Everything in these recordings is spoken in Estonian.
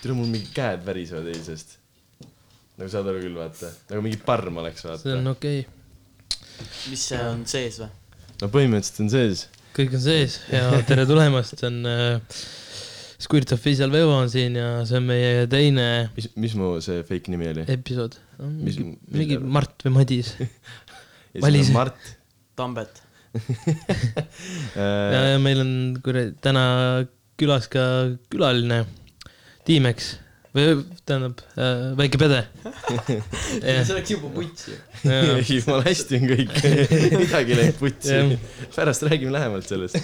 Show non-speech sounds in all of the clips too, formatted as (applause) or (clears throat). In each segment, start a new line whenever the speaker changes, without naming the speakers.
tule mul mingid käed värisevad eilsest . nagu saad aru küll , vaata , nagu mingi parm oleks ,
see
vaata .
on okei okay. ,
mis see on sees või ?
no põhimõtteliselt on sees .
kõik on sees ja tere tulemast , see on äh, Squirt Official Vevo on siin ja see on meie teine
mis , mis mu see fake nimi oli ?
episood .
Mis-
mingi ,
mille-
mingi Mart või Madis . Valis-
Mart .
Tambet .
Äh,
(laughs) ja , ja meil on kuradi täna külas ka külaline , Tiimex või tähendab äh, väike
(laughs)
Pede .
see oleks juba putsi .
jumala hästi on
(laughs)
kõik , midagi läinud putsi
Jah. .
pärast räägime lähemalt
(laughs)
sellest .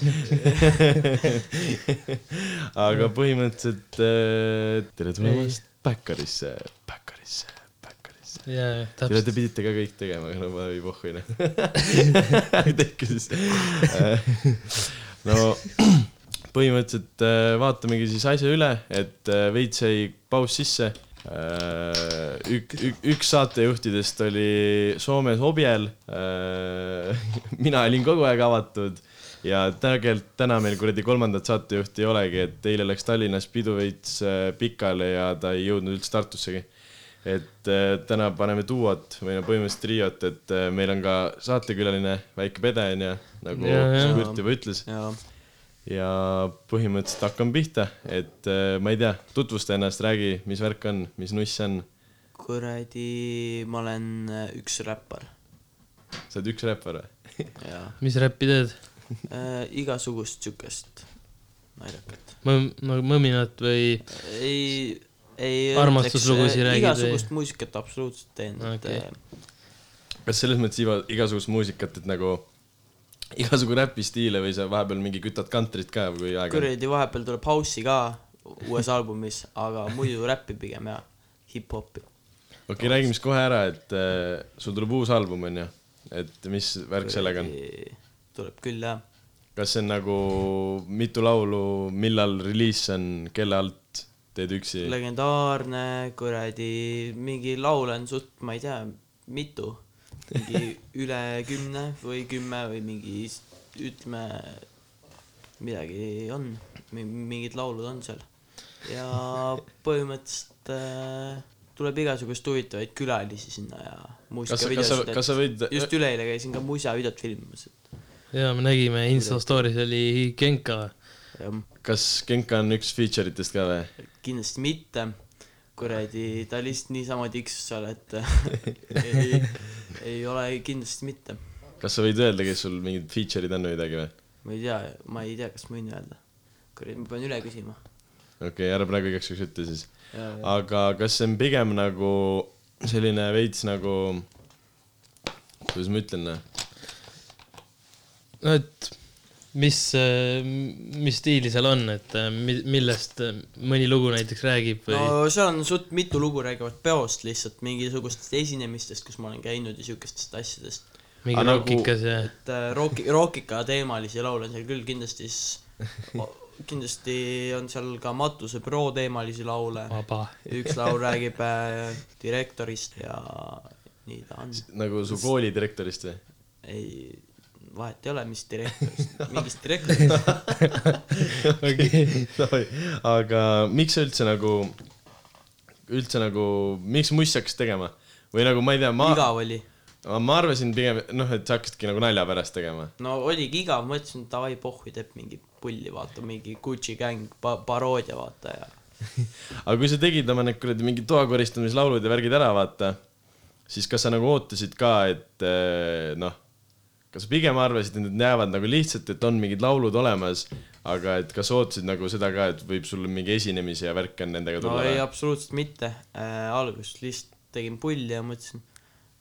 aga põhimõtteliselt äh, tere tulemast Backarisse , Backarisse , Backarisse .
ja , ja
Täpselt. Te
täpselt ,
pidite ka kõik tegema , aga no ma ei pohhu enam . (laughs) tehke siis . no põhimõtteliselt äh, vaatamegi siis asja üle , et äh, veits jäi paus sisse . Ük, ük, üks saatejuhtidest oli Soomes Äh, Objel . (laughs) mina olin kogu aeg avatud ja tegelikult täna meil kuradi kolmandat saatejuhti ei olegi , et eile läks Tallinnas pidu veits äh, pikali ja ta ei jõudnud üldse Tartussegi et äh, täna paneme duot või no põhimõtteliselt triot , et äh, meil on ka saatekülaline väike Pede onju , nagu
Jaa, jaa.
Skürt juba ütles
jaa .
ja põhimõtteliselt hakkame pihta , et äh, ma ei tea , tutvusta ennast , räägi , mis värk on , mis nuss on ,
kuradi , ma olen äh, üks räppar .
sa oled üks räppar või ?
jaa .
mis räppi teed ?
igasugust siukest naljakat .
mõm- , nagu mõminat või
ei , ei .
Armastuslugusid räägid või?
igasugust muusikat absoluutselt teen , et
Okei.
äh,
kas selles mõttes iga , igasugust muusikat , et nagu igasugu räpistiile või sa vahepeal mingi kütad kantrit ka , kui aeg on ?
kuradi vahepeal tuleb house'i ka uues albumis , aga muidu räppi pigem ja hip-hopi .
okei okay, , räägime siis kohe ära , et äh, sul tuleb uus album onju , et mis värk sellega on ?
tuleb küll jah .
kas see on nagu mitu laulu , millal reliis on , kelle alt teed üksi ?
legendaarne kuradi , mingi laule on suht , ma ei tea , mitu ,
(laughs)
mingi üle kümne või kümme või mingi s- ütleme , midagi on , mingid laulud on seal . ja põhimõtteliselt äh, tuleb igasugust huvitavaid külalisi sinna ja
kas sa , kas sa ,
muusikavideosid ,
kas sa võid
et just üleeile käisin ka muisavideot filmimas , et
jaa , me nägime Insta story's oli Genka .
jah
kas Genka on üks feature itest ka või ?
kindlasti mitte , kuradi , ta lihtsalt niisama tiksus seal , et ei , ei ole kindlasti mitte .
kas sa võid öelda , kes sul mingid feature'id on või midagi või ?
ma ei tea , ma ei tea , kas ma võin öelda . kuradi , ma pean üle küsima .
okei okay, , ära praegu igaks juhuks ütle siis . aga kas see on pigem nagu selline veits nagu , kuidas ma ütlen ,
no et mis , mis stiili seal on , et äh, mi- millest äh, mõni lugu näiteks räägib või no. ?
no seal on suht mitu lugu räägivad peost lihtsalt mingisugustest esinemistest , kus ma olen käinud ja siukestest asjadest .
mingi
aga nagu-
rokikas ja
et äh, rooki , rookika teemalisi laule on seal küll kindlasti , siis kindlasti on seal ka matusebüroo teemalisi laule .
vaba .
üks laul räägib äh, direktorist ja nii ta on .
nagu su kooli direktorist või ?
ei , vahet ei ole , mis direktorist , mingist direktorist .
okei ,
aga miks sa üldse nagu , üldse nagu , miks muss hakkas tegema ? või nagu ma ei tea , ma
igav oli .
ma ma arvasin pigem , noh , et sa hakkasidki nagu nalja pärast tegema .
no oligi igav , mõtlesin , et davai , pohhu , teeb mingi pulli , vaata , mingi Gucci Gang pa- , paroodia , vaata ja .
aga kui sa tegid oma need kuradi mingid toakoristamislaulud ja värgid ära , vaata , siis kas sa nagu ootasid ka , et eh, noh , kas sa pigem arvasid , et need jäävad nagu lihtsalt , et on mingid laulud olemas , aga et kas sa ootasid nagu seda ka , et võib sul mingi esinemisi ja värk on nendega
no
tulla
ei ,
või ?
absoluutselt mitte äh, . alguses lihtsalt tegin pulli ja mõtlesin ,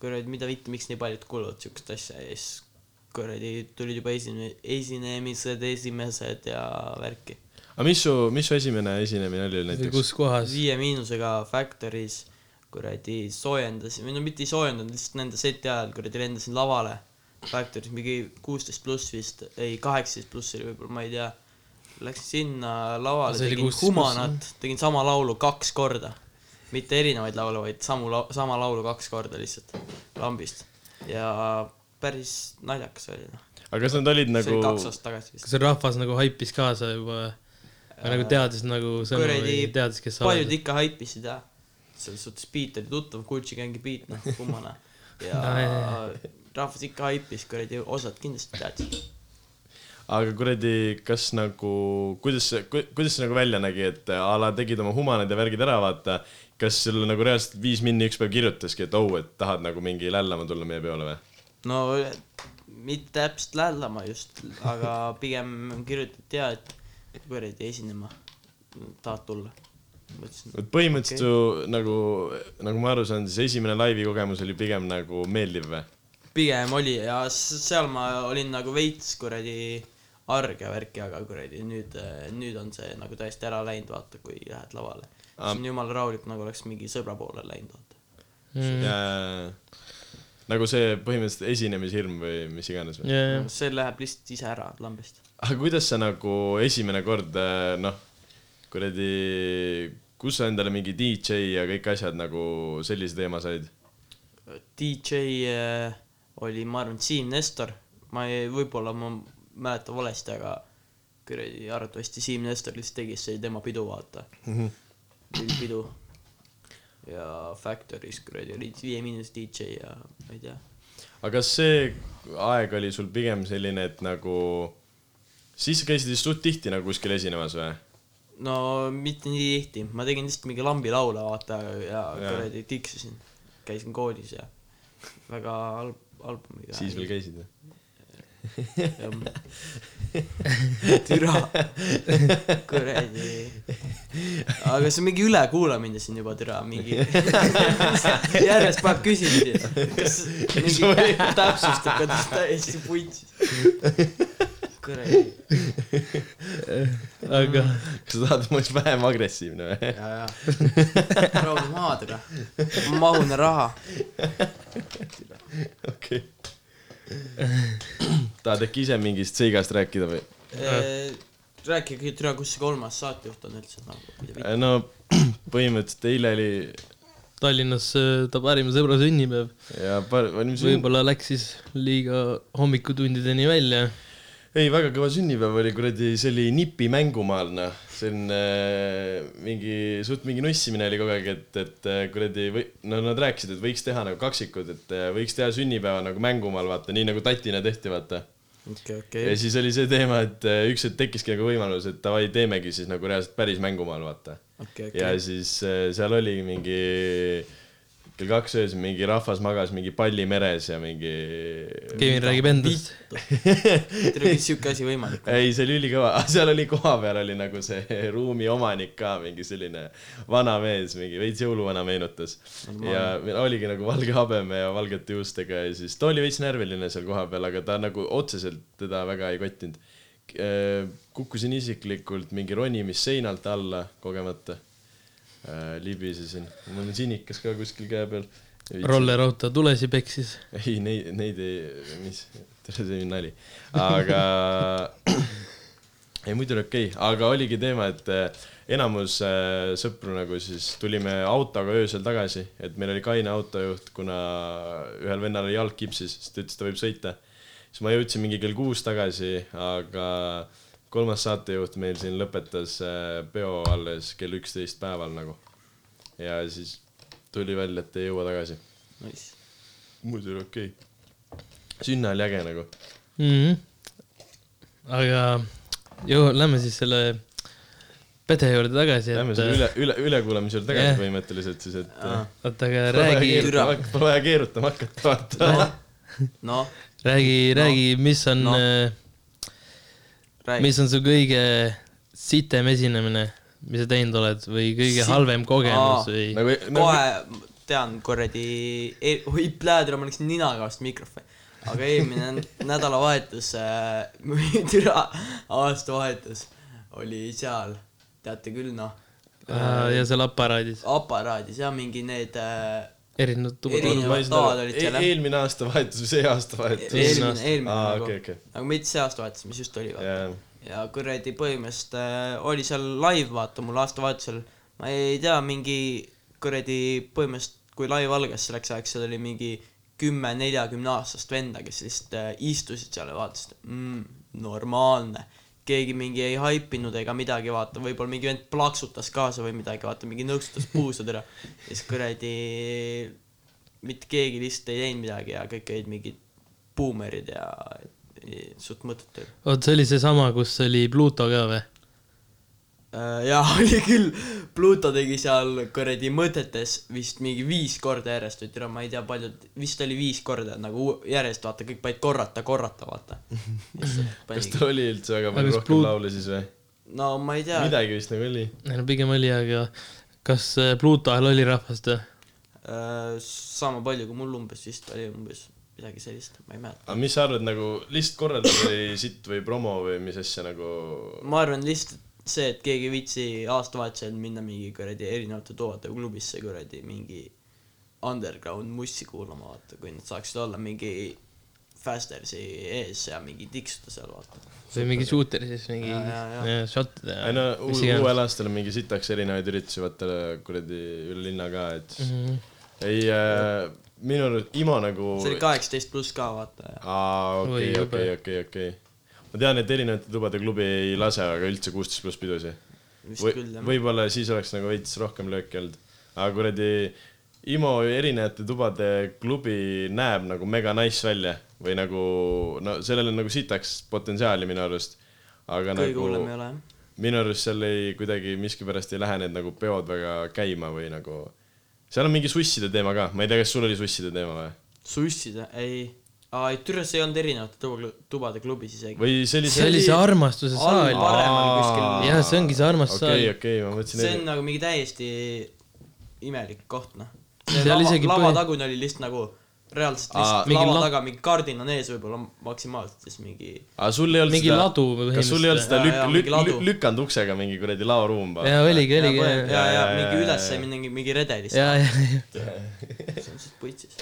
kuradi , mida vitt , miks nii paljud kuuluvad siukest asja ja siis kuradi tulid juba esine- , esinemised , esimesed ja värki .
aga mis su , mis su esimene esinemine oli näiteks ?
kus kohas ?
viie miinusega Factory's kuradi soojendasin , või no mitte ei soojendanud , lihtsalt nende seti ajal kuradi lendasin lavale Factory's mingi kuusteist pluss vist , ei kaheksateist pluss oli võib-olla , ma ei tea . Läksin sinna lavale ,
See oli
tegin
16 pluss,
Humanat , tegin sama laulu kaks korda . mitte erinevaid laule , vaid samu lau- , sama laulu kaks korda lihtsalt lambist ja päris naljakas oli noh ,
aga kas nad olid
see
nagu
oli , kaks aastat tagasi vist .
kas rahvas nagu haipis kaasa juba ? aga nagu teadis nagu sõnu
kuradi
või teadis , kes sa
paljud
oled .
ikka haipisid jah , selles suhtes beat oli tuttav , Gucci Gangi beat , noh ,
(laughs)
kummana . ja
Aa, jaa,
rahvas ikka haipis , kuradi , osad kindlasti teadsid .
aga kuradi , kas nagu , kuidas see , kuidas see nagu välja nägi , et a la tegid oma humanid ja värgid ära , vaata , kas sulle nagu reaalselt viis minni üks päev kirjutaski , et oh , et tahad nagu mingi lällama tulla meie peole või ?
no mitte täpselt lällama just , aga pigem kirjutati ja , et kuradi esinema , tahad tulla ? mõtlesin ,
et põhimõtteliselt okay. ju nagu , nagu ma aru saan , siis esimene laivi kogemus oli pigem nagu meeldiv või ?
pigem oli ja s- seal ma olin nagu veits kuradi arg ja värki , aga kuradi nüüd , nüüd on see nagu täiesti ära läinud , vaata , kui lähed lavale . siis on jumala rahulik , nagu oleks mingi sõbra poole läinud , vaata .
Mm.
nagu see põhimõtteliselt esinemishirm või mis iganes või ?
jajah ,
see läheb lihtsalt ise ära lambist .
aga kuidas sa nagu esimene kord äh, noh , kuradi , kus sa endale mingi DJ ja kõik asjad nagu sellise teema said ?
DJ äh, oli , ma arvan , Siim Nestor , ma ei , võib-olla ma mäletan valesti , aga kuradi arvatavasti Siim Nestor lihtsalt tegi , see oli tema pidu , vaata . tegi pidu . ja Factory's kuradi olid Viie Miinus DJ ja ma ei tea .
aga kas see aeg oli sul pigem selline , et nagu siis sa käisid vist suht tihti nagu kuskil esinemas või ?
no mitte nii tihti , ma tegin lihtsalt mingi lambilaule , vaata , ja
Jaa.
kuradi tiksusin . käisin koolis ja väga halb , halb .
siis veel käisid või ?
jah . (laughs) türa , kuradi . aga see on mingi ülekuulamine siin juba , türa , mingi . (laughs) järjest paneb küsimusi . kas mingi täpsustab , kas täiesti puntsis . kuradi ,
aga
kas sa tahad , et ma oleks vähem agressiivne või ? (laughs)
ja , ja . proovi maha , türa . mahune raha .
okei . tahad äkki ise mingist seigast rääkida või ?
Äh, rääkige , türa , kus see kolmas saatejuht on üldse nagu , mida vitt .
no põhimõtteliselt eile oli
Tallinnas äh, ta parima sõbra sünnipäev .
ja par- , oli mis
võib-olla läks siis liiga hommikutundideni välja .
ei , väga kõva sünnipäev oli , kuradi , see oli nipi mängumaal , noh . selline äh, mingi , suht mingi nussimine oli kogu aeg , et , et äh, kuradi või , no nad rääkisid , et võiks teha nagu kaksikud , et äh, võiks teha sünnipäeva nagu mängumaal , vaata , nii nagu Tatina tehti , vaata .
okei ,
ja
okei .
siis oli see teema , et äh, üks hetk tekkiski nagu võimalus , et davai , teemegi siis nagu reaalselt päris mängumaal , vaata
okei ,
ja
okei .
siis äh, seal oli mingi kell kaks öösel mingi rahvas magas mingi palli meres ja mingi .
Kevin räägib endast .
türa , kas siuke asi võimalik on ?
(laughs) ei , see oli ülikõva , seal oli kohapeal oli nagu see ruumi omanik ka mingi selline vana mees , mingi veits jõuluvana meenutas . ja meil oligi nagu valge habeme ja valgete juustega ja siis ta oli veits närviline seal kohapeal , aga ta nagu otseselt teda väga ei kottinud . kukkusin isiklikult mingi ronimisseinalt alla kogemata . libisesin , mul on sinikas ka kuskil käe peal .
rollerauto tulesi peksis .
(laughs) ei , neid , neid ei , mis , tere , see oli nali , aga (clears throat) ei muidu oli okei okay. , aga oligi teema , et äh, enamus äh, sõpru nagu siis tulime autoga öösel tagasi , et meil oli kaine autojuht , kuna ühel vennal oli jalg kipsis , siis ta ütles , et ta võib sõita . siis ma jõudsin mingi kell kuus tagasi , aga kolmas saatejuht meil siin lõpetas äh, peo alles kell üksteist päeval nagu . ja siis tuli välja , et ei jõua tagasi
Nice.
muidu oli okei okay. . sünna oli äge nagu .
Mhm. aga jõu- , lähme siis selle Pede juurde tagasi ,
Lähme selle
et äh,
üle , üle , ülekuulamise juurde tagasi
Jah.
yeah. põhimõtteliselt siis , et
Aa.
äh,
oota , aga
pole vaja
räägi ,
Türa.
keerutama , pole vaja keerutama hakata , vaata .
noh ,
räägi ,
No.
räägi , mis on
No.
no. ,
räägi .
mis on su kõige sitem esinemine , mis sa teinud oled või kõige
Si-
si halvem kogemus
Aa.
või nagu... ?
nagu , nagu
kohe tean kuradi , oi pläädra , ma läksin ninaga vastu mikrofoni . aga eelmine (laughs) nädalavahetus äh, , (laughs) türa , aastavahetus oli seal , teate küll noh ,
Äh.
Äh, ja seal aparaadis ,
aparaadis ja mingi need äh,
erinevad tubad .
Eri- erinevad toad olid seal, jah?
E-, eelmine aastavahetus või see aastavahetus ?
eelmine ,
aasta.
eelmine
Aa,
nagu
okei, okei.
aga mitte see aastavahetus , mis just oli vaata .
jaa ,
ja kuradi põhimõtteliselt äh, oli seal live , vaata mul aastavahetusel , ma ei tea , mingi kuradi põhimõtteliselt , kui live algas selleks ajaks , seal oli mingi kümme neljakümne aastast venda , kes lihtsalt äh, istusid seal ja vaatasid mm, , normaalne , keegi mingi ei haipinud ega midagi , vaata , võib-olla mingi vend plaksutas kaasa või midagi , vaata , mingi nõksutas puusad ära . ja siis kuradi , mitte keegi lihtsalt ei teinud midagi ja kõik olid mingid buumerid ja ja suht mõttetu .
oot , see oli seesama , kus oli Pluto ka või ?
Äh, jaa , (laughs) oli küll , Pluto tegi seal kuradi mõtetes vist mingi viis korda järjest või türa , ma ei tea , palju , vist oli viis korda nagu uu- järjest , vaata , kõik panid korrata , korrata , vaata .
(laughs) kas ta oli üldse väga
Aga
palju
kas
rohkem
Blu-
laule siis või ?
no ma ei tea .
midagi vist nagu oli .
ei no pigem oli , aga kas äh, Pluto ajal oli rahvast või ?
Äh, sama palju kui mul umbes vist oli umbes midagi sellist , ma ei mäleta .
aga mis sa arvad nagu lihtsalt korraldus oli sitt või promo või mis asja nagu ?
ma arvan lihtsalt see , et keegi ei viitsi aastavahetusel minna mingi kuradi erinevate toode klubisse kuradi mingi underground mussi kuulama , vaata , kui nad saaksid olla mingi Fastersi ees ja mingi tiksuda seal , vaata .
või mingi shooter siis mingi
Jaa, jaa, jaa.
äh, shottide
ei no
mis
uu-
iganes.
uuel aastal on mingi sitaks erinevaid üritusi , vaata kuradi üle linna ka , et siis
Mhm.
ei äh, , minu arust Imo nagu
see oli kaheksateist pluss ka , vaata .
aa , okei
Oi, , jube.
okei , okei , okei . ma tean , et erinevate tubade klubi ei lase aga üldse kuusteist pluss pidusi .
vist
või
küll , jah .
võib-olla siis oleks nagu veits rohkem lööki olnud . aga kuradi IMO erinevate tubade klubi näeb nagu mega nice välja või nagu no sellel on nagu sitaks potentsiaali minu arust . aga
kõige
nagu
hullem ei ole , jah .
minu arust seal ei kuidagi miskipärast ei lähe need nagu peod väga käima või nagu seal on mingi susside teema ka , ma ei tea , kas sul oli susside teema või ?
sussida , ei . aa , ei , Türas ei olnud erinevate tuba , tubade klubis isegi .
või sellise
see oli see armastuse saal
all paremal
Aa.
kuskil .
jah , see ongi see armastus
okei okay, , okei okay, , ma mõtlesin
see on nagu mingi täiesti imelik koht , noh .
Seal
lava,
isegi
lava
põhi-
tagune oli lihtsalt nagu reaalselt
Aa,
lihtsalt
mingi
lava
la-
taga mingi kardin on ees võib-olla maksimaalselt siis mingi
aga sul ei olnud
mingi
seda...
ladu
kas sul ei olnud seda
Jaa,
lük-
jaa, , mingi
lük- ,
ladu.
lük- , lükanud uksega mingi kuradi laoruum või ?
jaa , oligi ,
ja,
oligi
ja,
jaa ,
ja, ja
jaa,
mingi
jaa,
üles
jaa.
sai minna mingi , mingi redelist
jaa , jaa ,
see on siis putsis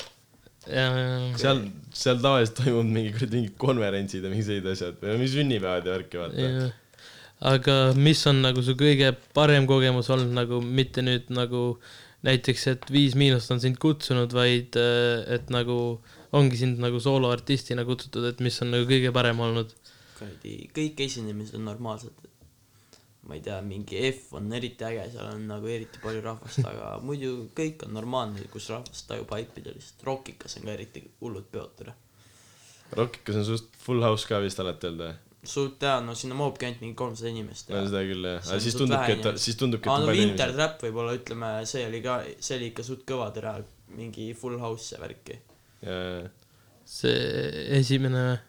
jaa ,
seal , seal tavaliselt toimuvad mingi kuradi mingid konverentsid ja mingid sellised asjad või mingi sünnipäevad ja värki vaata .
jaa . aga mis on nagu su kõige parem kogemus olnud nagu mitte nüüd nagu näiteks , et Viis Miinust on sind kutsunud , vaid äh, et nagu ongi sind nagu sooloartistina kutsutud , et mis on nagu kõige parem olnud
kuradi kõik esinemised on normaalsed ma ei tea mingi F on eriti äge seal on nagu eriti palju rahvast aga muidu kõik on normaalne kus rahvas tajub haipida lihtsalt Rockikas on ka eriti hullud peod täna
Rockikas on suht full house ka vist alati olnud või ?
suht hea no sinna mahabki ainult mingi kolmsada inimest
no seda küll jah ,
See
aga
on
siis
suht
tundubki ,
vähe
et ta ,
inimesi.
siis tundubki , et
aa no
on palju
Winter
inimesi .
Trap võib-olla ütleme , see oli ka , see oli ikka suht kõva türa , mingi full house ja värki .
see esimene või ?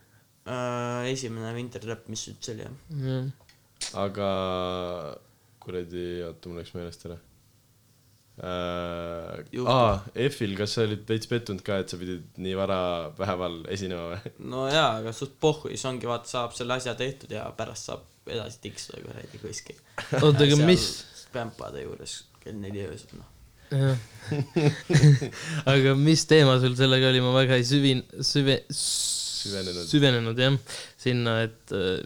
Äh, esimene Winter Trap , mis üldse oli jah .
jah .
aga kuradi , oota , mul läks meelest ära .
Juhtub.
aa , F-il , kas sa olid veits pettunud ka , et sa pidid nii vara päeval esinema või ?
no jaa , aga suht pohhu , siis ongi vaata , saab selle asja tehtud ja pärast saab edasi tiksuda kuradi kuskil .
oota , (laughs) aga mis ?
spämpade juures kell neli öösel noh .
(laughs) jah . aga mis teema sul sellega oli , ma väga ei süvin- , süve- ,
Süvenenud.
süvenenud jah , sinna , et äh,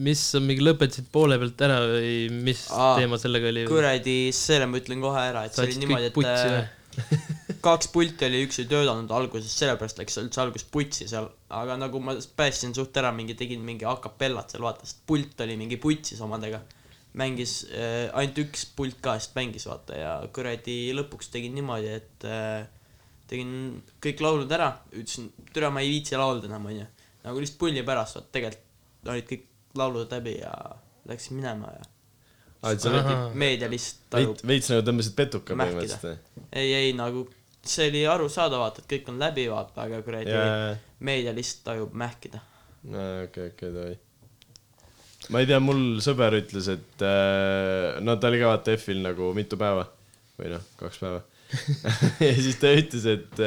mis , mingi lõpetasid poole pealt ära või mis Aa,
Aa,
teema sellega oli ?
kuradi , selle ma ütlen kohe ära , et see oli
Saatsid kõik
niimoodi , et
putsi või?
äh, kaks pulti oli , üks ei töötanud alguses , sellepärast läks üldse alguses putsi seal , aga nagu ma päästsin suht ära , mingi tegin mingi akapellat seal vaata , sest pult oli mingi putsis omadega . mängis äh, , ainult üks pult kahest mängis vaata ja kuradi lõpuks tegin niimoodi , et äh, tegin kõik laulud ära , ütlesin , türa ma ei viitsi laulda enam onju . nagu lihtsalt pulli pärast , vaata tegelikult olid kõik laulud läbi ja läksin minema ja
aa , et sa
Ahah.
olid
meedia lihtsalt
veits
tajub ,,
veits nagu tõmbasid petuka
Mähkida.
põhimõtteliselt .
ei , ei nagu see oli arusaadav , vaata , et kõik on läbi , vaata , aga kuradi yeah.
jaa ,
meedia lihtsalt tajub mähkida .
okei , okei , davai . ma ei tea , mul sõber ütles , et äh, no ta oli ka vaata F-il nagu mitu päeva või noh , kaks päeva . (laughs) ja siis ta ütles , et ,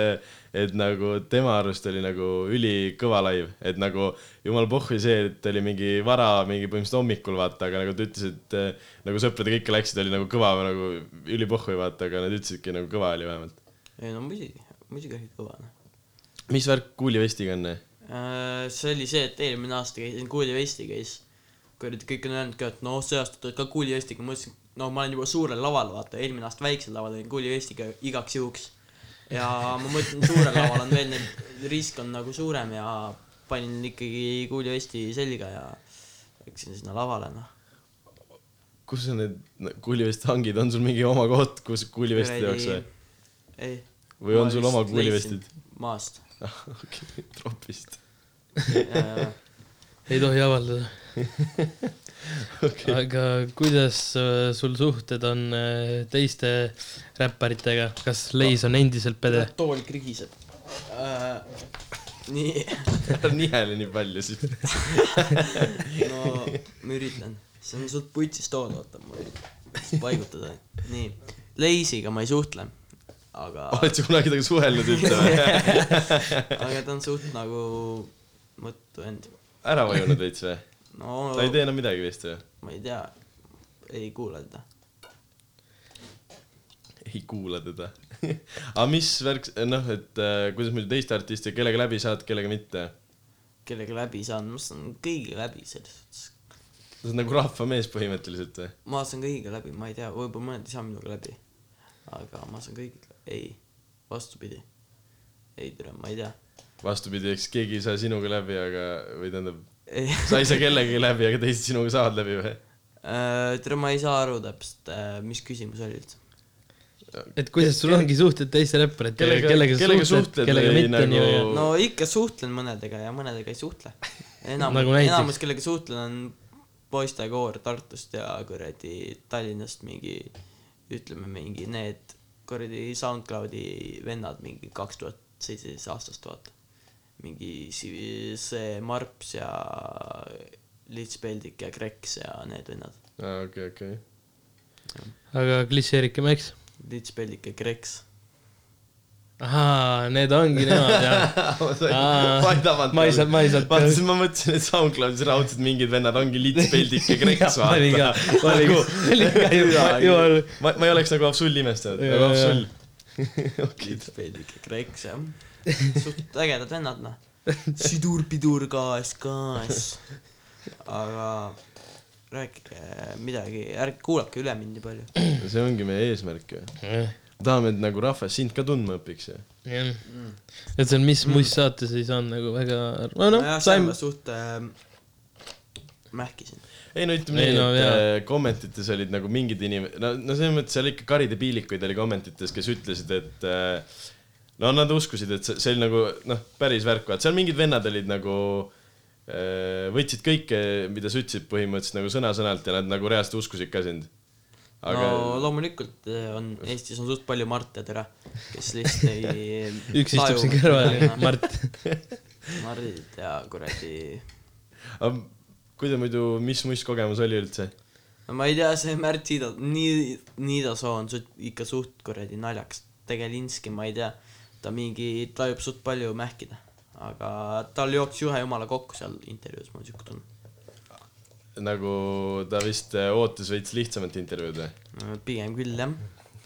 et nagu tema arust oli nagu ülikõva laiv , et nagu jumal pohhu see , et oli mingi vara , mingi põhimõtteliselt hommikul vaata , aga nagu ta ütles , et äh, nagu sõpradega ikka läksid , oli nagu kõva nagu ülipohhu vaata , aga nad ütlesidki nagu kõva oli vähemalt .
ei no muidugi , muidugi oli kõva , noh .
mis värk kuulivestiga on ?
see oli see , et eelmine aasta käisin kuulivestiga ja siis kuradi kõik on öelnud ka , et noh , see aasta tulid ka kuulivestiga , ma mõtlesin , no ma olen juba suurel laval , vaata , eelmine aasta väiksel laval olin kuulivestiga igaks juhuks . ja ma mõtlen , suurel laval on veel need , risk on nagu suurem ja panin ikkagi kuulivesti selga ja läksin sinna lavale , noh .
kus on need no, kuulivestihangid , on sul mingi oma koht , kus kuuliveste jaoks või ?? (laughs)
ei .
või on sul oma kuulivestid ?? (laughs)
maast .
Ah, okei , tropist .
ei tohi avaldada okay. . aga kuidas äh, sul suhted on äh, teiste räpparitega , kas Leis on endiselt pede ?
tool krigiseb . nii ,
ta on nihele nii palju
(laughs)
siis .
no ma üritan , see on suht putsis tool , oota ma üritan paigutada , nii . Leisiga ma ei suhtle , aga ,
Ah, oled sa kunagi temaga suhelnud üldse või ?
(laughs)
aga ta on suht nagu mõttu end .
ära vajunud veits või ?
no
ta ei tee enam midagi vist või ?
ma ei tea , ei kuule teda .
ei kuula teda . (laughs) aga mis värk , noh , et äh, kuidas muidu teiste artistidega , kellega läbi saad , kellega mitte ?
kellega läbi saan , ma saan kõigiga läbi selles suhtes .
sa oled nagu rahvamees põhimõtteliselt või ?
ma saan kõigiga läbi , ma ei tea , võib-olla mõned ei saa minuga läbi . aga ma saan kõigiga , ei , vastupidi . ei tere , ma ei tea .
vastupidi , eks keegi ei saa sinuga läbi , aga , või tähendab ,
ei
sa ei saa kellegagi läbi , aga teised sinuga saavad läbi või ?
(laughs) Äh, tere , ma ei saa aru täpselt , mis küsimus oli üldse .
et kuidas sul ongi suhted teiste räpparitega ,
kellega-
kellega
kellega
sa suhtled ,
suhtled
kellega
või
mitte
nagu-
on ju , ja
no ikka suhtlen mõnedega ja mõnedega ei suhtle .
(laughs)
enam
Nagu
nagu ,
näiteks?
enamus , kellega suhtlen , on poistekoor Tartust ja kuradi Tallinnast mingi , ütleme mingi need kuradi SoundCloudi vennad mingi kaks tuhat seitseteist aastast , vaata . mingi si- see Marps ja Lits Peldik ja Kreks ja need vennad .
aa , Ah, okei , okei . (laughs)
aga klisseerike Max ?
Lits Peldik ja Kreks .
ahaa , need ongi nemad jah . Aa,
ma ei tabanud .
ma ei saa- ma ei saanud-
vaata , siis ma mõtlesin , et SoundCloudis raudselt mingid vennad ongi Lits , Peldik ja
(laughs)
Kreks ,
ma olin ka
vaata .,
ma olin ka , ma olin ka juba , (laughs) juba
ma , ma ei oleks nagu Apsul imestanud ,
Jaa,
nagu
jaa.
Apsul . okei ,
Kids veidi ikka Kreeks
(laughs)
jah . suht ägedad vennad noh . sidur-pidur , gaas , gaas . aga rääkige midagi , ärge kuulake üle mind nii palju .
see ongi meie eesmärk ju . tahame , et nagu rahvas sind ka tundma õpiks ju .
jah , Mm. et see on , mis muist saate siis on nagu väga , no noh ,
nojah , see on
saime
ka , suht ähm, mähkisin .
ei no ütleme
Ei,
nii
no, ,
et
jaa.
äh, kommentites olid nagu mingid inim- , no , no selles mõttes seal ikka karidepiilikuid oli kommentites , kes ütlesid , et äh, no nad uskusid , et see, see oli nagu noh , päris värk , vaat seal mingid vennad olid nagu äh, võtsid kõike , mida sa ütlesid põhimõtteliselt nagu sõna-sõnalt ja nad nagu reaalselt uskusid ka sind . aga
no loomulikult äh, on , Eestis on suht palju Marte täna , kes lihtsalt ei
(laughs) üks istub siin
(laughs)
kõrval , Mart .
Mardid ja kuradi
no, , kuidas muidu , mis must kogemus oli üldse ?
no ma ei tea , see Märt Niida , nii , Niidasoo on suht, ikka suht kuradi naljakas tegelinski , ma ei tea , ta mingi , tajub suht palju mähkida , aga tal jooksis juhe jumala kokku seal intervjuus , mul siuke tunne .
nagu ta vist äh, ootas veits lihtsamat intervjuud või ?
pigem küll jah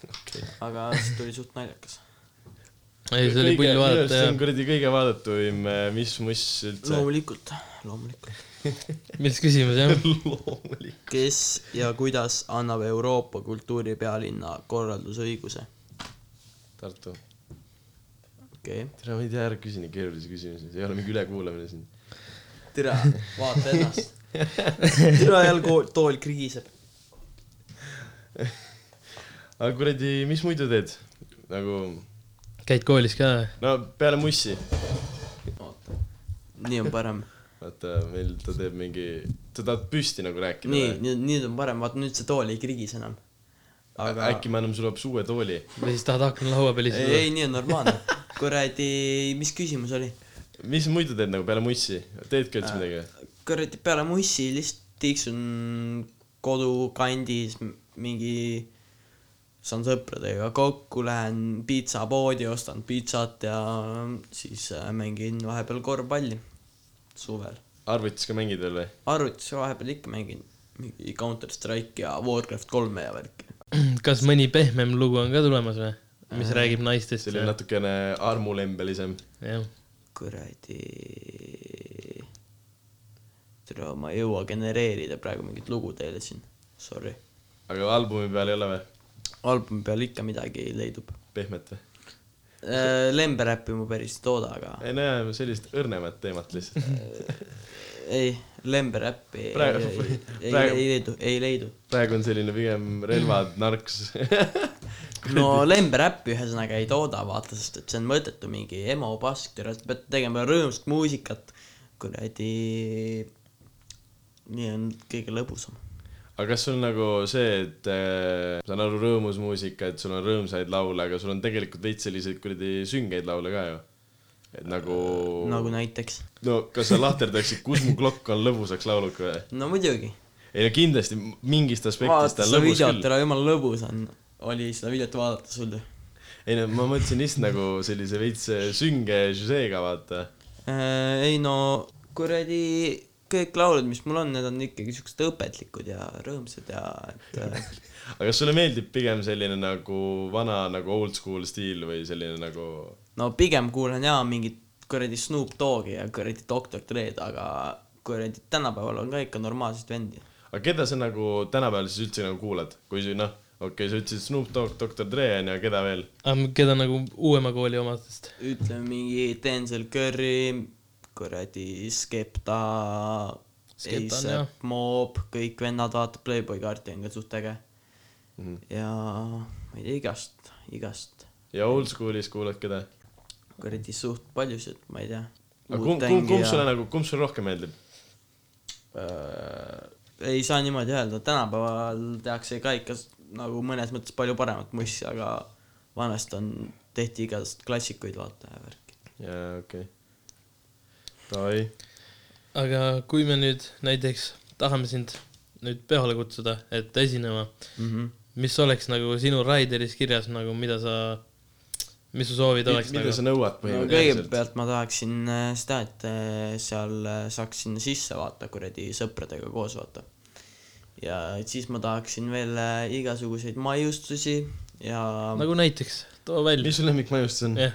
okay. , aga see tuli suht naljakas .
ei , see oli pull vaadata
see
ja
on kuradi kõige vaadatuim , mis must üldse .
loomulikult , loomulikult .
milles küsimus jah ?
loomulikult .
kes ja kuidas annab Euroopa kultuuripealinna korraldusõiguse ?
Tartu .
okei okay. ,
tere , ma ei tea , ära küsi nii keerulisi küsimusi , see ei ole mingi ülekuulamine siin .
tere , vaata (laughs) ennast . tere , jälle kool- tool krigiseb .
aga kuradi , mis muidu teed ? nagu ,
käid koolis ka või ?
no peale mussi .
oota , nii on parem
vaata , meil ta teeb mingi , sa tahad püsti nagu rääkida
nii ,? nüüd , nüüd on parem , vaata nüüd see tool ei krigise enam .
aga äkki me anname sulle hoopis uue tooli .
või siis tahad aknalaua peal
ei ,
istuda ?
ei nii on normaalne . kuradi , mis küsimus oli ?
mis muidu teed nagu peale mussi ? teedki
Äh.
üldse midagi või ?
kuradi peale mussi lihtsalt tiiksun kodukandis m- mingi , saan sõpradega kokku , lähen piitsapoodi , ostan piitsat ja siis äh, mängin vahepeal korvpalli suvel .
arvutis ka mängid veel või ?
arvutis vahepeal ikka mängin mingi Counter Strike ja Warcraft kolme ja värki .
(clears throat) kas mõni pehmem lugu on ka tulemas või ? mis räägib naistest
selline
ja ,
natukene armulembelisem .
jah .
kuradi . tere , ma ei jõua genereerida praegu mingit lugu teile siin , sorry .
aga albumi peal ei ole või ?
albumi peal ikka midagi leidub .
pehmet või ?
Äh, Lemberäppi ma päris ei tooda , aga (laughs)
ei no jaa , sellist õrnemat teemat lihtsalt .
ei , Lemberäppi ei ,
Praegu-
ei , ei,
praegu-
ei leidu , ei leidu .
praegu on selline pigem relvad , narks . (laughs)
no (laughs) Lemberäppi ühesõnaga ei tooda , vaata , sest et see on mõttetu mingi emo pask , tere , sa pead tegema rõõmsat muusikat , kuradi . nii on kõige lõbusam .
aga kas sul nagu see , et äh, saan aru , rõõmus muusika , et sul on rõõmsaid laule , aga sul on tegelikult veits selliseid kuradi süngeid laule ka ju ? et nagu,
nagu näiteks .
no kas sa lahterdaksid , kus mu klokk on lõbusaks lauluks või ?
no muidugi .
ei no kindlasti mingist aspektist
vaata
ta on
seda
lõbus
videot ,
küll .
ära jumala lõbus on , oli seda videot vaadata sul ju .
ei no ma mõtlesin just nagu sellise veits sünge žüžeega , vaata .
Äh, ei no kuradi , kõik laulud , mis mul on , need on ikkagi siuksed õpetlikud ja rõõmsad ja et (laughs) äh,
aga kas sulle meeldib pigem selline nagu vana nagu old school stiil või selline nagu
no pigem kuulan jaa mingit kuradi Snoop Dogi ja kuradi Doktor Dre'd , aga kuradi tänapäeval on ka ikka normaalseid vendi .
aga keda sa nagu tänapäeval siis üldse nagu kuulad , kui sa noh , okei okay, , sa ütlesid Snoop Dogg , Doktor Dre onju , keda veel ?
keda nagu uuema kooli omadest ?
ütleme mingi Denzel Curry , kuradi Skepta ,
Skepta on, jah.
A$AP Mob , kõik vennad , vaata Playboy kaarti on ka suht äge mm .
Mhm.
-hmm. ja ma ei tea , igast , igast
ja old school'is kuulad keda ?
kuradi suht paljusid , ma ei tea .
aga kumb , kumb , kumb sulle nagu , kumb sulle rohkem meeldib ?
äh, ei saa niimoodi öelda , tänapäeval tehakse ka ikka s- nagu mõnes mõttes palju paremat mussi , aga vanasti on , tehti igast klassikuid , vaata ja värki .
jaa , okei okay. . Davai ,
aga kui me nüüd näiteks tahame sind nüüd peole kutsuda , et esinema ,
Mm -hmm.
mis oleks nagu sinu Raideris kirjas nagu , mida sa , mis su soovid oleks
mida sa
nagu ?
nõuad
no
põhimõtteliselt no, ?
kõigepealt ma tahaksin äh, seda , et äh, seal äh, saaks sinna sisse vaata kuradi sõpradega koos vaata . ja et siis ma tahaksin veel äh, igasuguseid maiustusi ja nagu...
nagu näiteks , too välja .
mis su lemmikmajustus on ?
jah ,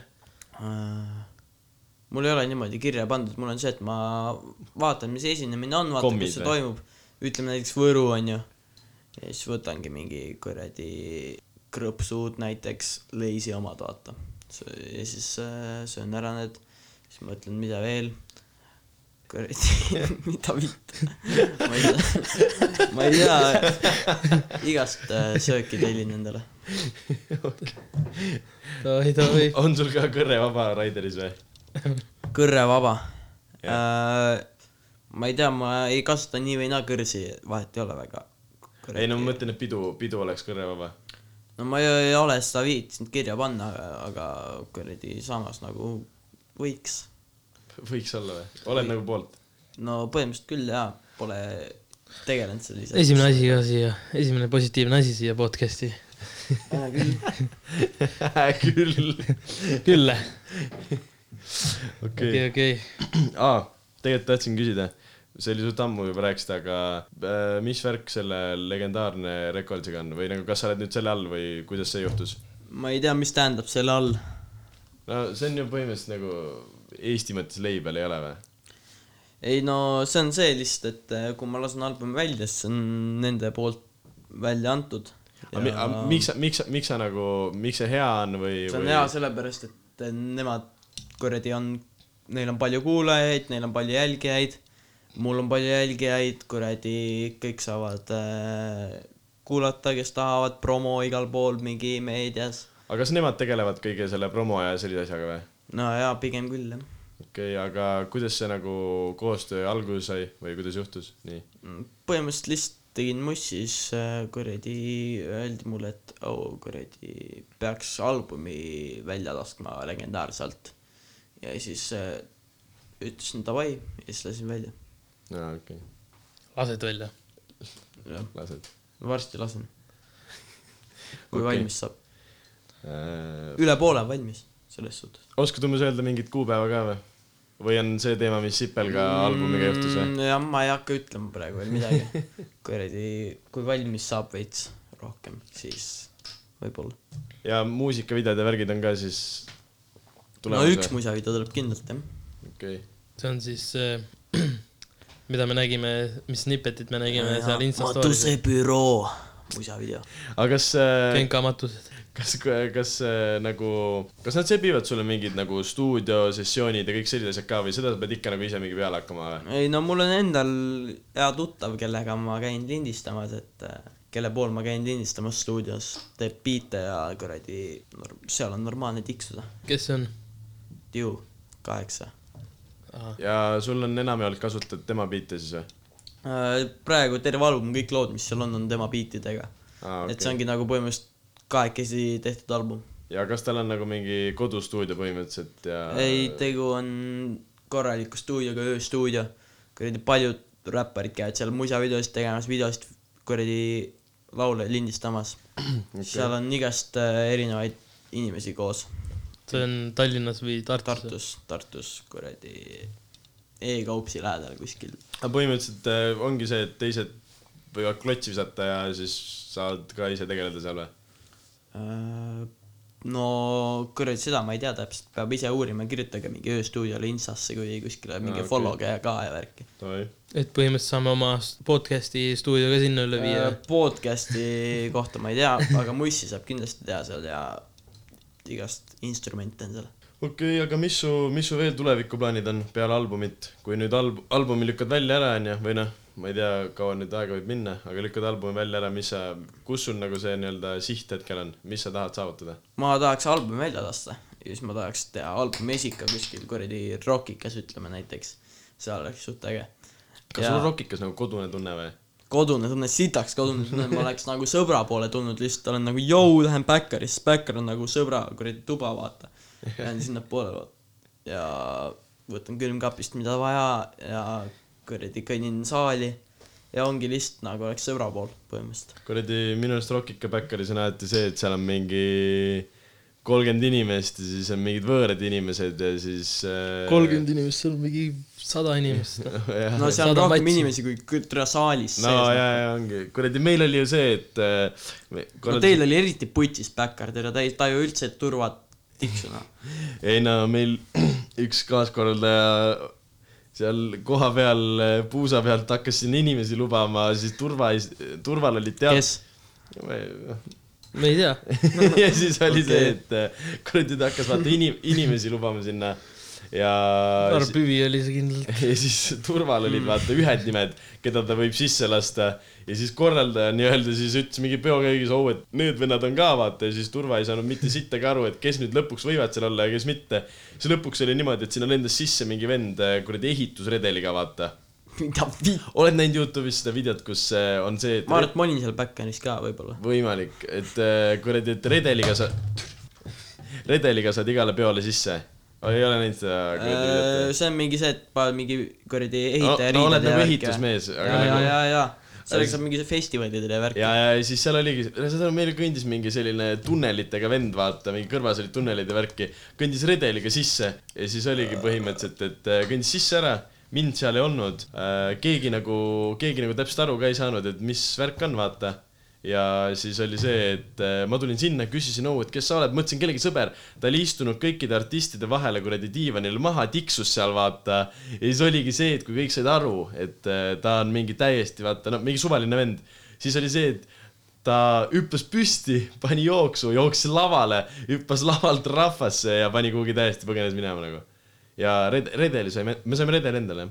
äh, mul ei ole niimoodi kirja pandud , mul on see , et ma vaatan , mis esinemine on , vaatan ,
Kommid
kus see
või?
toimub . ütleme näiteks Võru on ju . ja siis võtangi mingi kuradi krõpsud näiteks , leisi omad , vaata . ja siis äh, söön ära need , siis mõtlen , mida veel . kuradi , (laughs) mida vitt . ma ei tea , ma ei tea , igast äh, sööki tellin endale .
too ei , too ei .
on sul ka kõrre vaba Raideris või ?
kõrre vaba . ma ei tea , ma ei kasuta nii või naa kõrsi , vahet ei ole väga .
ei no ma mõtlen , et pidu , pidu oleks kõrre vaba .
no ma ei, ei ole seda viitsinud kirja panna , aga kuradi samas nagu võiks .
võiks olla või ? oled nagu
(laughs)
poolt ?
no põhimõtteliselt küll jaa , pole tegelenud sellise .
esimene asi ka siia , esimene positiivne asi siia podcast'i .
asi .
küll .
küll ,
okei
okei , okei .
(clears throat) aa , tegelikult tahtsin küsida , see oli suht ammu juba rääkisite , aga äh, mis värk selle legendaarne Records'iga on või nagu , kas sa oled nüüd selle all või kuidas see juhtus ?
ma ei tea , mis tähendab selle all .
no see on ju põhimõtteliselt nagu Eesti mõttes label ei ole või ?
ei no see on see lihtsalt , et eh, kui ma lasen albumi välja , siis see on nende poolt välja antud .
aga miks , miks , miks sa nagu , miks see hea on või ,
see on
või
hea sellepärast , et nemad kuradi on , neil on palju kuulajaid , neil on palju jälgijaid , mul on palju jälgijaid , kuradi kõik saavad äh, kuulata , kes tahavad , promo igal pool , mingi meedias .
aga kas nemad tegelevad kõige selle promo ja sellise asjaga või ?
no jaa , pigem küll jah .
okei okay, , aga kuidas see nagu koostöö alguse sai või kuidas juhtus , nii ?
põhimõtteliselt lihtsalt tegin mussis , kuradi öeldi mulle , et oh kuradi , peaks albumi välja laskma legendaarselt . ja siis äh, ütlesin davai ja siis lasin välja .
aa , okei okay. ,
lased välja .
jah ,
lased
varsti lasen .
Okei.
kui okay. valmis saab ,
äh, .
üle poole on valmis , selles suhtes .
oskad umbes öelda mingit kuupäeva ka või ? või on see teema , mis Sipelga
Mm.
albumiga juhtus või ??
jah , ma ei hakka ütlema praegu veel
(laughs)
midagi . kuradi , kui valmis saab veits rohkem , siis võib-olla .
ja muusikavideod ja värgid on ka siis
no üks
või ?
muisavideo tuleb kindlalt jah .
okei ,
see on siis (clears throat) äh, , mida me nägime , mis snippetit me nägime seal Insta
matuse
story's .
büroo , muisavideo .
aga kas äh, ,
kenkamatused .
kas , kas äh, nagu , kas nad sebivad sulle mingid nagu stuudiosessioonid ja kõik sellised asjad ka või seda sa pead ikka nagu ise mingi peale hakkama või ?
ei no mul on endal hea tuttav , kellega ma käin lindistamas , et äh, kelle pool ma käin lindistamas stuudios , teeb biite ja kuradi , seal on normaalne tiksuda .
kes see on ?
ju , kaheksa .
ja sul on enamjaolt kasutad tema biite siis või ?
Äh, praegu terve album , kõik lood , mis seal on , on tema biitidega .
Aa,
et
Ah, okei.
see ongi nagu põhimõtteliselt kahekesi tehtud album .
ja kas tal on nagu mingi kodustuudio põhimõtteliselt ja ?
ei , tegu on korraliku stuudioga , ööstuudio . kuradi paljud räpparid käivad seal muisavideosid tegemas , videosid kuradi laule lindistamas okay. . seal on igast äh, erinevaid inimesi koos .
see on Tallinnas või Tartus ?
Tartus , Tartus kuradi E-kaupsi lähedal kuskil .
aga põhimõtteliselt äh, ongi see , et teised võivad klotsi visata ja siis saad ka ise tegeleda seal või ?
Äh, no kuradi , seda ma ei tea täpselt , peab ise uurima , kirjutage mingi ööstuudiole instasse või kuskile
okei.
mingi no, okay. follow'ge ka ja värki .
tohi .
et põhimõtteliselt saame oma s- podcast'i stuudio ka sinna üle viia
Äh, . podcast'i kohta ma ei tea , aga mussi saab kindlasti teha seal ja igast instrumente on seal .
okei okay, , aga mis su , mis su veel tulevikuplaanid on peale albumit , kui nüüd alb- , albumi lükkad välja ära , onju , või noh , ma ei tea , kaua nüüd aega võib minna , aga lükkad albumi välja ära , mis sa , kus sul nagu see nii-öelda siht hetkel on , mis sa tahad saavutada ?
ma tahaks albumi välja lasta ja siis ma tahaks teha albumi esika kuskil kuradi rokikas , ütleme näiteks . see oleks suht äge .
kas sul on rokikas nagu kodune tunne või ?
kodune tunne , sitaks kodune tunne , ma oleks nagu sõbra poole tulnud lihtsalt , olen nagu jõu , lähen Backerisse , Backer on nagu sõbra kuradi tuba , vaata . Lähen sinnapoole vaata. ja võtan külmkapist , mida vaja ja kuradi kõnnin saali ja ongi lihtsalt nagu oleks sõbra pool põhimõtteliselt .
kuradi , minu arust Rockika Backeris on alati see , et seal on mingi kolmkümmend inimest ja siis on mingid võõrad inimesed ja siis äh,
kolmkümmend inimest , seal on mingi sada inimest .
(laughs) jah.
no seal on
Saadab
rohkem
matsi.
inimesi kui kütra saalis noh.
no ja , ja ongi , kuradi , meil oli ju see , et äh, me-
no
korraldas-
teil oli eriti putis Backer , teil ta ei taju üldse turvat tiksuna .
ei no meil (clears throat) üks kaaskorraldaja seal kohapeal äh, puusa pealt hakkas sinna inimesi lubama , siis turva , turval olid tead-
kes ? (laughs)
ma ei tea .
(laughs) ja siis oli okay. see
Okei. ,
et äh, kuradi ta hakkas vaata inim- , inimesi lubama sinna ja
Arv Püvi oli see kindlalt .
(laughs) ja siis turval
Mm.
olid vaata ühed nimed , keda ta võib sisse lasta ja siis korraldaja nii-öelda siis ütles mingi peoköögis , oo , et need vennad on ka vaata ja siis turva ei saanud mitte sittagi aru , et kes nüüd lõpuks võivad seal olla ja kes mitte . siis lõpuks oli niimoodi , et sinna lendas sisse mingi vend äh, kuradi ehitusredeliga , vaata .
mida vitt ?
oled näinud Youtube'is seda videot , kus äh, on see , et
ma arvan , et ma olin seal Backeris ka võib-olla .
võimalik , et äh, kuradi , et redeliga sa , (laughs) redeliga saad igale peole sisse . ei ole näinud seda kuradi videot ?
Äh, see on mingi see , et paned mingi kuradi
no,
ehitaja
no oled
riided ja
nagu
värke.
ehitusmees , aga
ja , ja ,
nagu
ja , ja , sellega saab mingi see festivalidele ja värki .
ja , ja siis seal oligi , seda meil kõndis mingi selline tunnelitega vend , vaata , mingi kõrvas olid tunnelid ja värki , kõndis redeliga sisse ja siis oligi põhimõtteliselt , et äh, kõndis sisse ära , mind seal ei olnud , keegi nagu , keegi nagu täpselt aru ka ei saanud , et mis värk on , vaata ja siis oli see , et äh, ma tulin sinna , küsisin , oo , et kes sa oled , mõtlesin kellegi sõber . ta oli istunud kõikide artistide vahele kuradi diivanil maha , tiksus seal vaata . ja siis oligi see , et kui kõik said aru , et äh, ta on mingi täiesti vaata , no mingi suvaline vend , siis oli see , et ta hüppas püsti , pani jooksu , jooksis lavale , hüppas lavalt rahvasse ja pani kuhugi täiesti põgenes minema nagu . ja red- , redeli saime , me saime redeli endale ,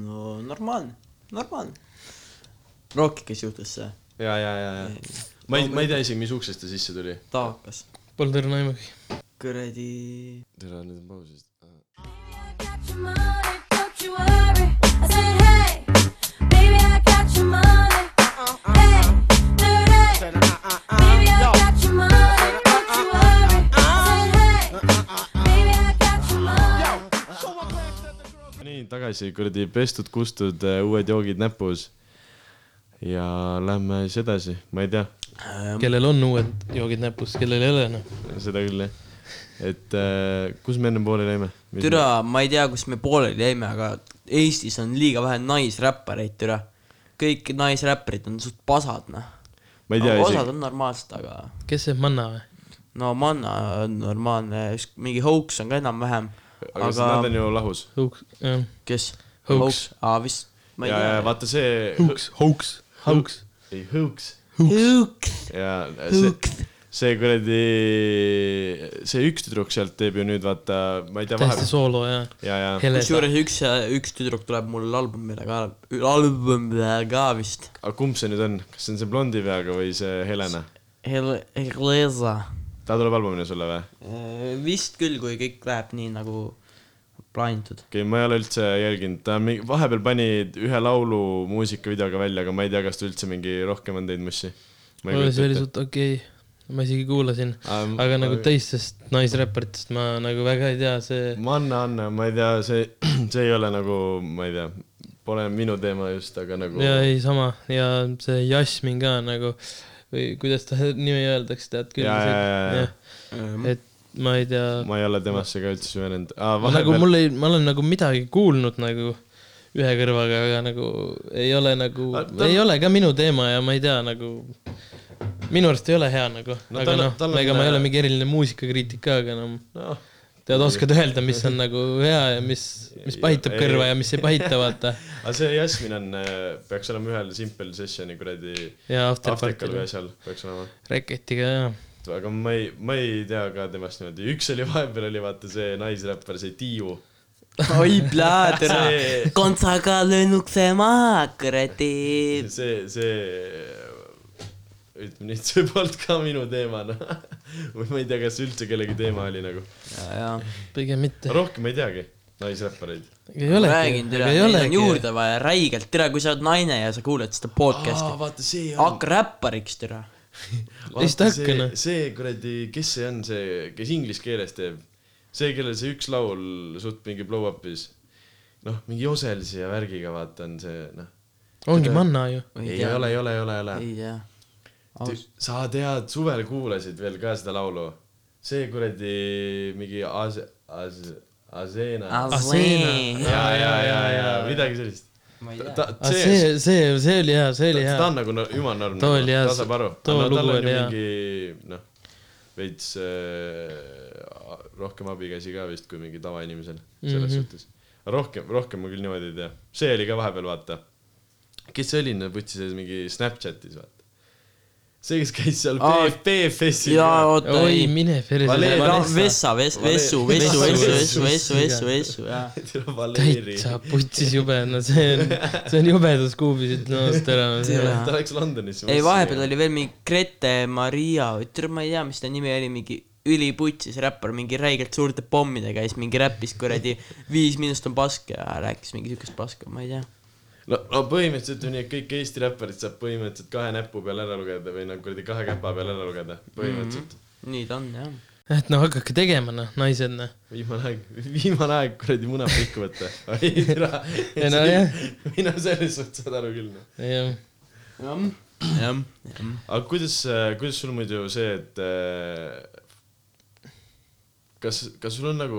no normaalne , normaalne . Rockikas juhtus see ,
jah . ja , ja , ja , ja . ma ei , ma ei tea isegi , mis uksest ta sisse tuli .
taakas .
Polnud õrna aimugi .
kuradi
tere , nüüd on paus vist . nii , tagasi kuradi pestud , kustud , uued joogid näpus . ja lähme siis edasi , ma ei tea Äh,
kellel on uued joogid näpus , kellel ei ole , noh .
seda küll jah . et äh, kus me enne pooleli jäime ?
türa , ma ei tea , kus me pooleli jäime , aga Eestis on liiga vähe naisräppareid , türa . kõik naisräpparid on suht pasad , noh .
ma ei tea
osad
isegi .
on normaalsed , aga
kes see Manna või ?
no Manna on normaalne , mingi Hoax on ka enam-vähem ,
aga
aga
nad on ju lahus .
Hooks , ähm, jah .
kes ?
Hoax.
aa , vist , ma ei
ja , ja
tea .
vaata see ,
Hooks , Hooks , Hooks .
ei hõõks ,
Hooks ,
ja see ,
hooks .
see kuradi , see üks tüdruk sealt teeb ju nüüd vaata , ma ei tea ,
täiesti
vahepeal
soolo ja
ja , ja ,
hele .
kusjuures üks , üks tüdruk tuleb mul albumile ka , albumile ka vist .
aga kumb see nüüd on , kas see on see blondi peaga või see Helena ?
Hel- , Heleza .
ta tuleb albumile sulle või ?
Äh, vist küll , kui kõik läheb nii nagu plaanitud .
okei okay, , ma ei ole üldse jälginud , ta mingi , vahepeal pani ühe laulu muusikavideoga välja , aga ma ei tea , kas ta üldse mingi rohkem on teinud mussi . ma ei Ähm,
see oli suht okei okay. , ma isegi kuulasin ,
suht
aga nagu . teistest naisräpparitest ma nagu väga ei tea , see
Manna Anna , ma ei tea , see , (clears throat) see ei ole nagu , ma ei tea , pole minu teema just , aga nagu
ja . ei sama ja see Jasmin ka nagu või kuidas ta (laughs) nimi öeldakse , tead küll
Jaa, jaa, jaa, jaa. .
et ma ei tea ,
ma ei ole temasse ka üldse süvenenud ah, .
ma nagu
vahepeal ,
mul ei , ma olen nagu midagi kuulnud nagu ühe kõrvaga , aga nagu ei ole nagu
Aga , ta-
ei ole ka minu teema ja ma ei tea nagu , minu arust ei ole hea nagu
No
no, , aga
tal-
noh
tal , on-
ega ma ei ole mingi eriline muusikakriitik ka , aga noh ,
noh ,
tead , oskad öelda , mis on nagu hea ja mis , mis pahitab
Ei-
kõrva ja mis ei pahita , vaata .
aga see Jasmin on , peaks olema ühel Simple Sessioni kuradi (laughs)
ja After
Aftekal või
Party'l ,
asjal peaks olema .
Reketiga ja ,
aga ma ei , ma ei tea ka temast niimoodi , üks oli vahepeal oli vaata see naisräppar , see Tiiu .
(laughs) oi plaa , (laughs) tere .
see ,
kontsaga löönukse maha , kuradi .
see , see , ütleme nii , et see polnud ka minu teema , noh . või (laughs) ma ei tea , kas üldse kellegi teema oli nagu .
ja , ja .
pigem mitte .
rohkem ei teagi naisräppareid .
ei
ma
olegi
räägin ,
ei
teile , meil on
olegi .
juurde vaja räigelt , tere , kui sa oled naine ja sa kuuled seda podcast'i ,
vaata see
hakka räppariks , tere .
Ei seda hakka,
see
noh. ,
see kuradi , kes see on , see , kes inglise keeles teeb , see , kellel see üks laul suht mingi blow up'is , noh , mingi Joselsi ja värgiga vaata on see , noh .
ongi manna ju .
ei ei ole , ei ole , ei ole , ei ole .
ei tea .
Tü- sa tead , suvel kuulasid veel ka seda laulu , see kuradi mingi Ase- , Ase- , Asena . ja , ja , ja , ja midagi sellist .
ma ei tea .
ta ,
aga
see ,
Ah, see , see , see oli hea , see oli
ta
hea
ta . on nagu no- jumal norm ,
Too oli hea,
ta saab aru .
too
tal
lugu
on ju
oli hea.
mingi noh , veits äh, rohkem abikäsi ka vist kui mingi tavainimesel selles mm
Mhm.
-hmm. suhtes . rohkem , rohkem ma küll niimoodi ei tea , see oli ka vahepeal vaata , kes see oli , putsi sees mingi Snapchatis vaata . see , kes käis seal
Aa,
BF- BFS-il .
jaa , oota ,
oi ,
ei .
mine
Valeri-
perse .
Vessa , Ves- ,
Vale-
Vessu , Vessu ,
Vessu,
Vessu ,
Vessu,
Vessu , Vessu , Vessu ,
jaa.
Vessu , jaa .
tere , (laughs) Valeri .
täitsa putsis jube , no see on , see on jubedus kuubis , ütlen ausalt ära .
Tere.
(laughs) ta läks Londonisse .
ei , vahepeal . oli veel mingi Grete Maria , tüdru- , ma ei tea , mis ta nimi oli , mingi üliputsis räppar , mingi räigelt suurte pommidega ja siis mingi räppis kuradi Viis miinust on paske ja rääkis mingi siukest paska , ma ei tea .
no , no põhimõtteliselt on nii , et kõik Eesti räpparid saab põhimõtteliselt kahe näpu peal ära lugeda või nagu kuradi kahe käpa peal ära lugeda , põhimõtteliselt mm .
Mhm.
nii ta on jah .
et no hakake tegema noh , naised noh .
-hmm. viimane aeg , viimane aeg kuradi muna pikku
(laughs)
võtta . ei tere
Ei, no jah. .
mina selles suhtes saan aru küll .
jah ,
jah , jah , jah .
aga kuidas , kuidas sul muidu see , et äh, kas , kas sul on nagu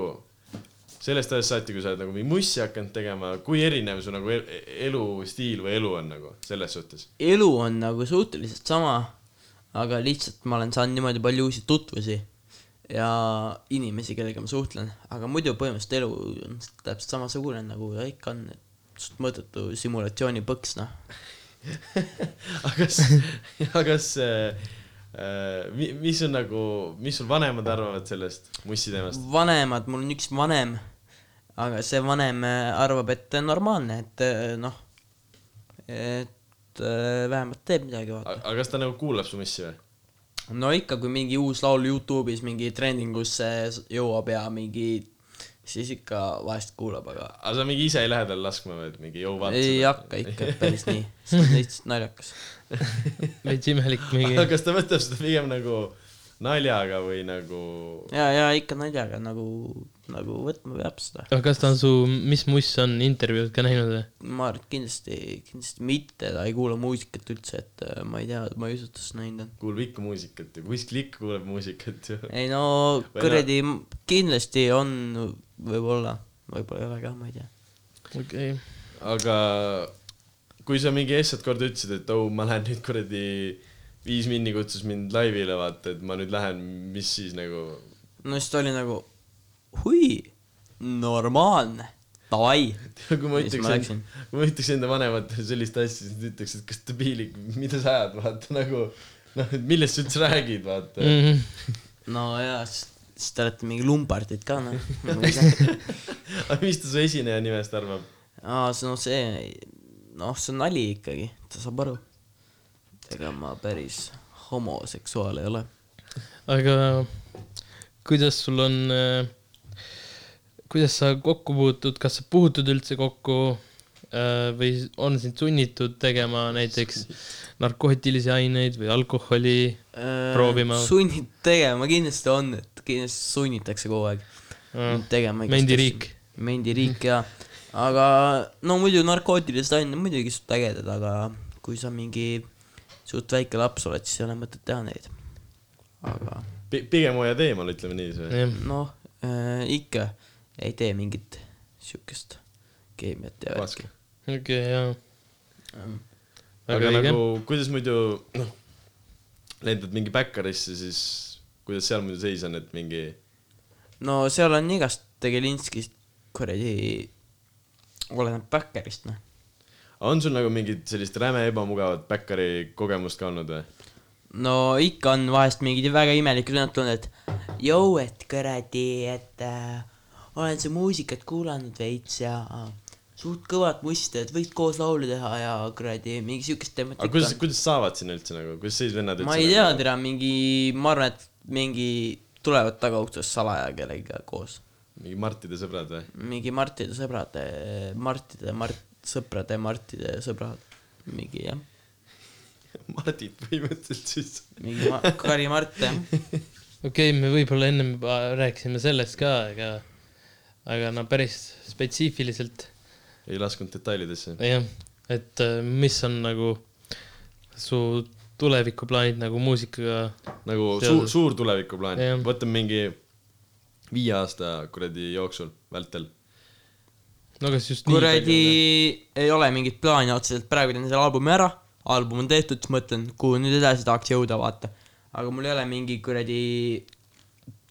sellest ajast saati , kui sa oled nagu mingi mussi hakanud tegema , kui erinev su nagu el- elustiil või elu on nagu selles suhtes ?
elu on nagu suhteliselt sama , aga lihtsalt ma olen saanud niimoodi palju uusi tutvusi ja inimesi , kellega ma suhtlen , aga muidu põhimõtteliselt elu on täpselt samasugune , nagu ta ikka on , et suht mõttetu simulatsioonipõks , noh .
(laughs) aga kas , (laughs) aga kas äh, äh, mi- mis on nagu , mis sul vanemad arvavad sellest mussi teemast ?
vanemad , mul on üks vanem , aga see vanem äh, arvab , et normaalne , et äh, noh , et äh, vähemalt teeb midagi , vaata .
aga kas ta nagu kuulab su mussi või ?
no ikka , kui mingi uus laul Youtube'is mingi trendingusse s- jõuab ja mingi , siis ikka vahest kuulab , aga
aga sa mingi ise ei lähe tal laskma või , et mingi jõu vaata
ei hakka ikka päris nii , see on lihtsalt naljakas .
veits
(laughs)
imelik
aga
mingi .
kas ta võtab seda pigem nagu naljaga või nagu
ja , ja ikka naljaga nagu , nagu võtma peab seda .
aga kas ta on su , mis muss on intervjuud ka näinud või ?
ma arvan , et kindlasti , kindlasti mitte , ta ei kuula muusikat üldse , et äh, ma ei tea , ma ei usu , et ta seda näinud on .
kuulab ikka muusikat ja kuskil ikka kuuleb muusikat ju .
ei no
Või
kuradi , kindlasti on , võib-olla , võib-olla ei ole ka , ma ei tea .
okei okay. ,
aga kui sa mingi eestsat korda ütlesid , et oh , ma lähen nüüd kuradi Viis Minni kutsus mind laivile , vaata , et ma nüüd lähen , mis siis nagu
no siis ta oli nagu , hui , normaalne . davai .
(laughs) kui ma
siis ma
ütleks ,
läksin .
kui ma ütleks enda vanematele sellist asja , siis nad ütleks , et kas debiilik , mida sa ajad , vaata nagu noh , et millest sa üldse räägid , vaata mm. .
-hmm.
no jaa , siis te olete mingi lumbardid ka noh .
(laughs) aga mis ta su esineja nimest arvab ?
aa , see no see , noh , see on nali ikkagi , ta saab aru . ega ma päris homoseksuaal ei ole .
aga kuidas sul on , kuidas sa kokku puutud , kas sa puutud üldse kokku äh, või on sind sunnitud tegema näiteks narkootilisi aineid või alkoholi ? Proovima.
Äh, sunnid tegema kindlasti on , et kindlasti sunnitakse kogu aeg tegema .
mendiriik. .
mendiriik jaa , aga no muidu narkootilised ained on muidugi suht ägedad , aga kui sa mingi suht väike laps oled , siis ei ole mõtet teha neid . aga
pigem hoiad eemal , ütleme niiviisi või ?
noh äh, , ikka ei tee mingit siukest keemiat ja
Raske.
värki . Mm.
okei , jaa .
aga
väga õige .
nagu , kuidas muidu , noh , lendad mingi backerisse , siis kuidas seal muidu seis on , et mingi
no seal on igast Tegelinskist kuradi , oleneb backerist noh .
on sul nagu mingit sellist räme ebamugavat backeri kogemust ka olnud või ?
no ikka on vahest mingid väga imelikud õnnetud olnud , et jõu , et kuradi , et äh, olen su muusikat kuulanud veits ja äh, suht kõvat mussi , et võiks koos laulu teha ja kuradi mingi siukest teemat
aga kuidas , kuidas saavad sinna üldse nagu , kuidas sellised vennad
on .
üldse
ma ei tea , tere , mingi , ma arvan , et mingi tulevad tagauksest salaja kellegiga koos .
mingi Martide sõbrad või ?
mingi Martide sõbrad , Martide , Mart , sõprade , Martide sõbrad , mingi jah ,
(laughs) Mardid põhimõtteliselt siis .
mingi ma, Kari Mart jah .
okei , me võib-olla ennem juba rääkisime sellest ka , aga , aga no päris spetsiifiliselt
ei laskunud detailidesse .
jah , et äh, mis on nagu su tulevikuplaanid nagu muusikaga
nagu
See
suur ,
on-
suur tulevikuplaan
Jah. .
võtame mingi viie aasta kuradi jooksul , vältel .
no kas just nii
kuradi , ei ole mingit plaani otseselt , praegu teen selle albumi ära , album on tehtud , siis mõtlen , kuhu nüüd edasi tahaks jõuda , vaata . aga mul ei ole mingi kuradi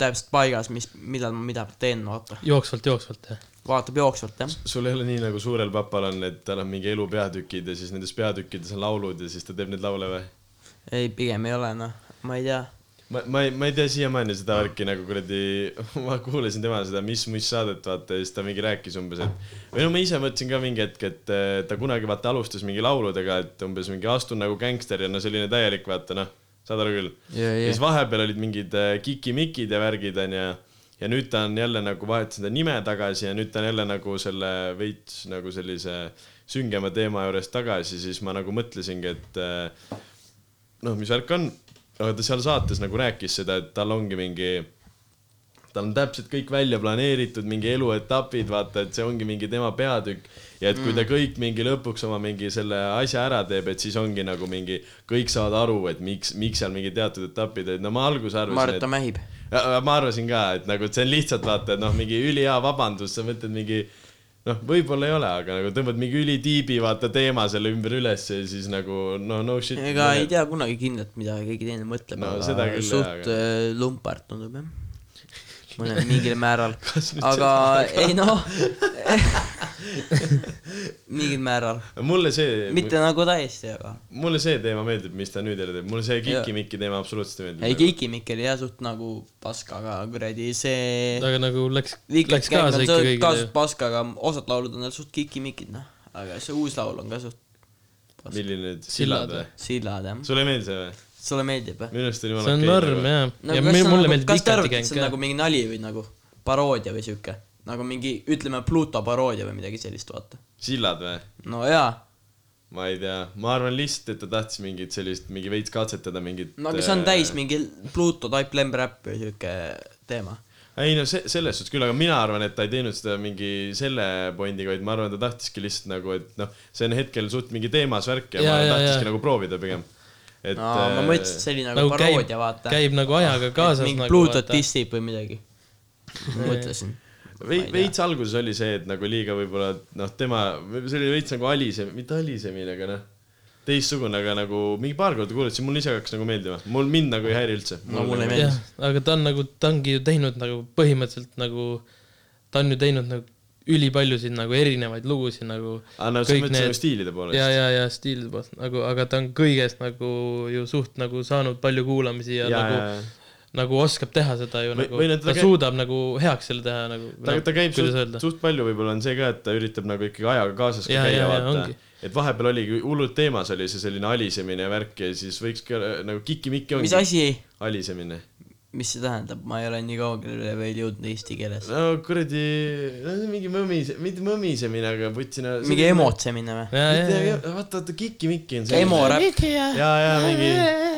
täpselt paigas , mis , millal ma mida teen , vaata .
palju? jooksvalt , jooksvalt jah ?
vaatab jooksvalt , jah .
sul ei ole nii nagu suurel papal on , et tal on mingi elu peatükid ja siis nendes peatükkides on laulud ja siis ta teeb neid laule või ?
ei , pigem ei ole , noh , ma ei tea .
ma , ma ei , ma ei tea siiamaani seda
Ah.
värki nagu kuradi , (laughs) ma kuulasin tema seda Mis Muss saadet vaata ja siis ta mingi rääkis umbes , et või no ma ise mõtlesin ka mingi hetk , et eh, ta kunagi vaata alustas mingi lauludega , et umbes mingi astun nagu gängster ja no selline täielik vaata noh , saad aru küll .
Jaa,
ja
jaa.
siis vahepeal olid mingid eh, kikimikid ja värgid onju ja nüüd ta on jälle nagu vahetas enda nime tagasi ja nüüd ta on jälle nagu selle veits nagu sellise süngema teema juures tagasi , siis ma nagu mõtlesingi , et äh, noh , mis värk on , aga ta seal saates nagu rääkis seda , et tal ongi mingi , tal on täpselt kõik välja planeeritud , mingi eluetapid , vaata , et see ongi mingi tema peatükk ja et kui
Mm.
ta kõik mingi lõpuks oma mingi selle asja ära teeb , et siis ongi nagu mingi , kõik saavad aru , et miks , miks seal mingi teatud etapid , et no ma alguses
ma arvan , et
arvasin ,
ta mähib .
Ja- ja ma arvasin ka , et nagu , et see on lihtsalt vaata , et noh , mingi ülihea vabandus , sa mõtled mingi noh , võib-olla ei ole , aga nagu tõmbad mingi ülitiibi , vaata teema selle ümber ülesse ja siis nagu no no shit .
ega ei tea kunagi kindlalt , mida keegi teine mõtleb
No
no, ,
seda
aga
küll,
suht
aga-
äh, lumpart tundub , jah .
(laughs)
mõnel mingil määral
Kas . nüüd
aga
(laughs)
ei noh , mingil määral
mulle see ,
mitte nagu täiesti , aga
mulle see teema meeldib , mis ta nüüd jälle teeb , mulle see Kiki-Mikki teema absoluutselt ei meeldi .
ei , Kiki Mikk oli jah suht nagu paska , aga kuradi see
aga nagu läks , läks
Weekend Gang
kaasa
Eh, on
ikka
suht- ka
kõigile
suht . paska , aga osad laulud on tal suht Kiki Mikid , noh . aga see uus laul on ka suht
milline nüüd ,
Sillad
Sillad või ?
sillad , jah .
sulle ei meeldi see või ?
sulle meeldib või ?
minu arust oli
see on norm . jah ,
No
ja
kas
me-
see on
mulle
nagu-
meeldib
kas te
Vikati
arvate, et
gäng
see on
ka
nagu . mingi nali või nagu paroodia või siuke ? nagu mingi , ütleme , Pluto paroodia või midagi sellist , vaata .
Sillad või ?
no jaa ,
ma ei tea , ma arvan lihtsalt , et ta tahtis mingit sellist , mingi veits katsetada mingit . äh,
no aga see on täis . mingi Pluto type lembräpp või siuke teema .
ei no see , selles suhtes küll , aga mina arvan , et ta ei teinud seda mingi selle pointiga , vaid ma arvan , ta tahtiski lihtsalt nagu , et noh , see on hetkel suht mingi teemas värk ja, ja
Jaa,
ma
jaa,
tahtiski
jaa.
nagu proovida pigem . et
no ma mõtlesin , et see oli nagu
nagu käib
paroodia ,, vaata .
käib nagu ajaga
Et
kaasas
mingi
nagu
Pluto . tissib või midagi . ma mõtlesin .
vei- , veits alguses oli see , et nagu liiga võib-olla noh , tema , see oli veits nagu alise , mitte alisemine , aga noh , teistsugune , aga nagu mingi paar korda kuulasin , mul ise hakkas nagu meeldima , mul mind nagu ei häiri üldse .
No mulle ei meeldi.
jah , aga ta on nagu , ta ongi ju teinud nagu põhimõtteliselt nagu , ta on ju teinud nagu ülipaljusid nagu erinevaid lugusid nagu
aga no sa
Kõik
mõtled
need-
nagu stiilide poolest
ja , ja , ja stiilide poolt nagu , aga ta on kõigest nagu ju suht nagu saanud palju kuulamisi ja, ja nagu ja. nagu oskab teha seda ju
Või-
nagu ,
või no ta
ta
käi-
suudab nagu heaks selle teha nagu .
ta , ta käib suht,
suht ,
suht palju , võib-olla on see ka , et ta üritab nagu ikkagi ajaga kaasas ka
Jaa,
käia ,
jaa, jaa, ongi.
vaata . et vahepeal oligi hullult teemas , oli see selline alisemine ja värk ja siis võiks ka äh, nagu kikimikki
mis
ongi
asi ,
alisemine .
mis see tähendab , ma ei ole nii kaugele veel jõudnud eesti keeles .
no kuradi , no see on mingi mõmise , mitte mõmisemine , aga vutsina .
mingi . emotsemine või ?
suht .
vaata , vaata kikimikki on
Emo
selline .
räpp ,
ja , ja mingi ,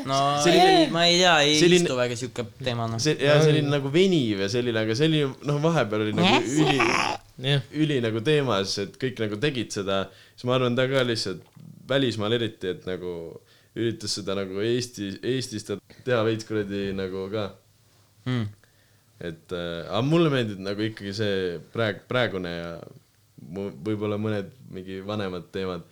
no
Selline-
ma ei tea , ei
selline-
istu väga siuke teema noh .
see , ja selline nagu veniv ja selline , aga see oli ju noh , vahepeal oli nagu üli
jah ,
üli nagu teemas , et kõik nagu tegid seda , siis ma arvan , ta ka lihtsalt välismaal eriti , et nagu üritas seda nagu Eesti , Eestis ta teha veits kuradi nagu ka ,
Mm.
et äh, aga mulle meeldib nagu ikkagi see praeg- , praegune ja mu- võib-olla mõned mingi vanemad teemad .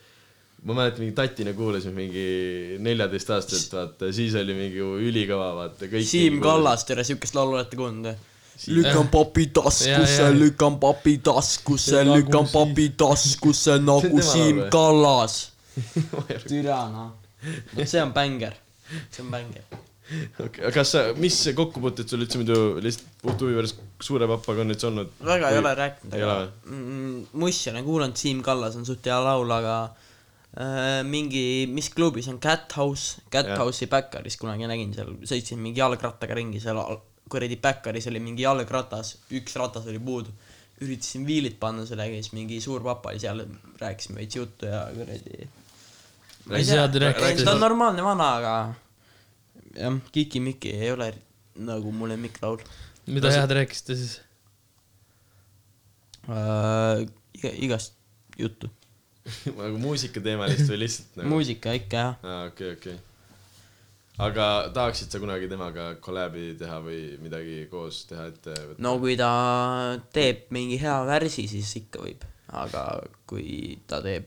ma mäletan , mingi tatina kuulasin mingi neljateistaastaselt , vaata , siis oli mingi ülikõva , vaata kõik .
Siim . Kallas , tere , siukest laulu olete kuulnud või ?
Siim-
lükkan papi
Ja, ja.
taskusse , lükkan papi taskusse , lükkan papi
(laughs)
taskusse nagu
tema laul
Siim
või?
Kallas .
(laughs)
türa noh . vot see on bängar , see on bängar .
kas sa , mis kokkupuuted sul üldse muidu lihtsalt puht huvi pärast suure papaga on üldse olnud ?
väga ei ole rääkinud ,
ei
aga
ole.
mm, Mussi olen kuulanud , Siim Kallas on suht hea laul , aga äh, mingi , mis klubis on Cat House , Cat
Jah.
yeah. House'i Backeris kunagi nägin seal , sõitsin mingi jalgrattaga ringi seal al- kuradi Backeris oli mingi jalgratas , üks ratas oli puudu . üritasin viilid panna sellega , siis mingi suur papa oli seal , rääkisime veits juttu ja kuradi . ma ei
Rääkisid-
tea
Jaa, te , rääkisite-
ta on normaalne vana , aga jah , Kiki-Miki ei ole eri- nagu mu lemmiklaul
mida head rääkisite siis ?
äh, . igast juttu .
(laughs) nagu muusikateemalist või lihtsalt nagu ?
muusika ikka jah .
aa , okei , okei . aga tahaksid sa kunagi temaga kolläbi teha või midagi koos teha , et võtta
no kui ta teeb mingi hea värsi , siis ikka võib , aga kui ta teeb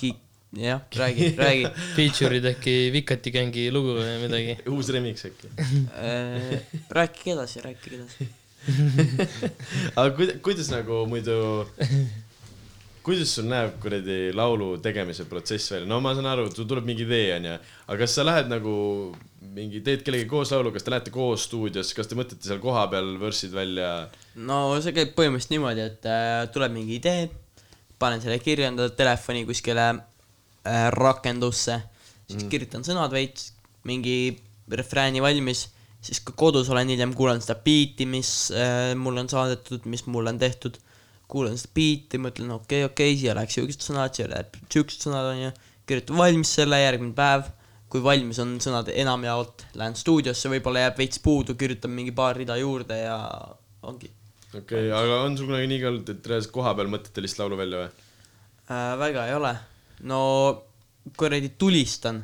ki- , jah , räägi , räägi
Feature'id äkki Vikati gängi lugu või midagi ?
uus remix äkki ?
äh, . rääkige edasi , rääkige edasi .
aga kuida- , kuidas nagu muidu , kuidas sul näeb kuradi laulu tegemise protsess välja ? no ma saan aru , sul tuleb mingi idee , onju , aga kas sa lähed nagu mingi , teed kellegagi koos laulu , kas te lähete koos stuudiosse , kas te mõtlete seal kohapeal võrssid välja ?
no see käib põhimõtteliselt niimoodi , et äh, tuleb mingi idee , panen selle kirjandada telefoni kuskile äh, rakendusse , siis mm. kirjutan sõnad veits , mingi refrääni valmis , siis kui kodus olen hiljem , kuulan seda biiti , mis äh, mulle on saadetud , mis mulle on tehtud , kuulan seda biiti , mõtlen okei okay, , okei okay, , siia läheks siuksed sõnad , siia läheb siuksed sõnad , onju , kirjutan valmis selle , järgmine päev , kui valmis on sõnad enamjaolt , lähen stuudiosse , võib-olla jääb veits puudu , kirjutan mingi paar rida juurde ja ongi
okei okay, , aga on sul kunagi nii ka olnud , et reaalselt kohapeal mõtlete lihtsalt laulu välja või ?
äh, . väga ei ole . no kuradi tulistan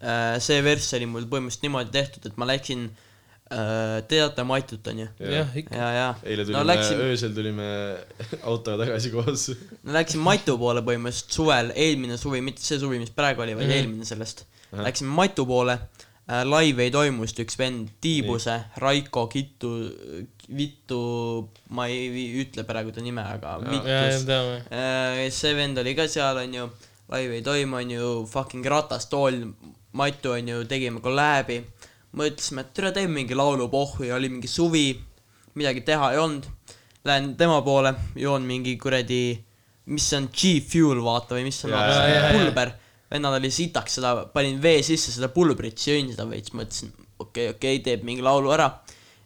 äh, . see verss oli mul põhimõtteliselt niimoodi tehtud , et ma läksin äh, , teate Matjut onju ?
jah , ikka .
ja , ja .
eile
no
tulime no, ,
läksin ,
öösel tulime (laughs) autoga tagasi koos .
no läksin Matu poole põhimõtteliselt suvel , eelmine suvi , mitte see suvi , mis praegu oli , vaid
Mhm.
eelmine sellest .
Ahah.
Läksin Matu poole äh, , live ei toimu , sest üks vend , Tiibuse , Raiko Kittu , Vittu , ma ei vi- ütle praegu ta nime , aga
ja ,
Vitus
ja teame .
Äh, see vend oli ka seal , onju , live ei toimu , onju , fucking ratastool , Matu , onju , tegime kollääbi . mõtlesime , et tere , teeme mingi laulupohvi , oli mingi suvi , midagi teha ei olnud . Lähen tema poole , joon mingi kuradi , mis see on , G-Fuel vaata või mis see on ,
Jaa,
jaa, jaa, jaa.
pulber . vennal oli sitaks seda , panin vee sisse seda pulbrit , sõin seda veits , mõtlesin , okei okay, , okei okay, , teeb mingi laulu ära .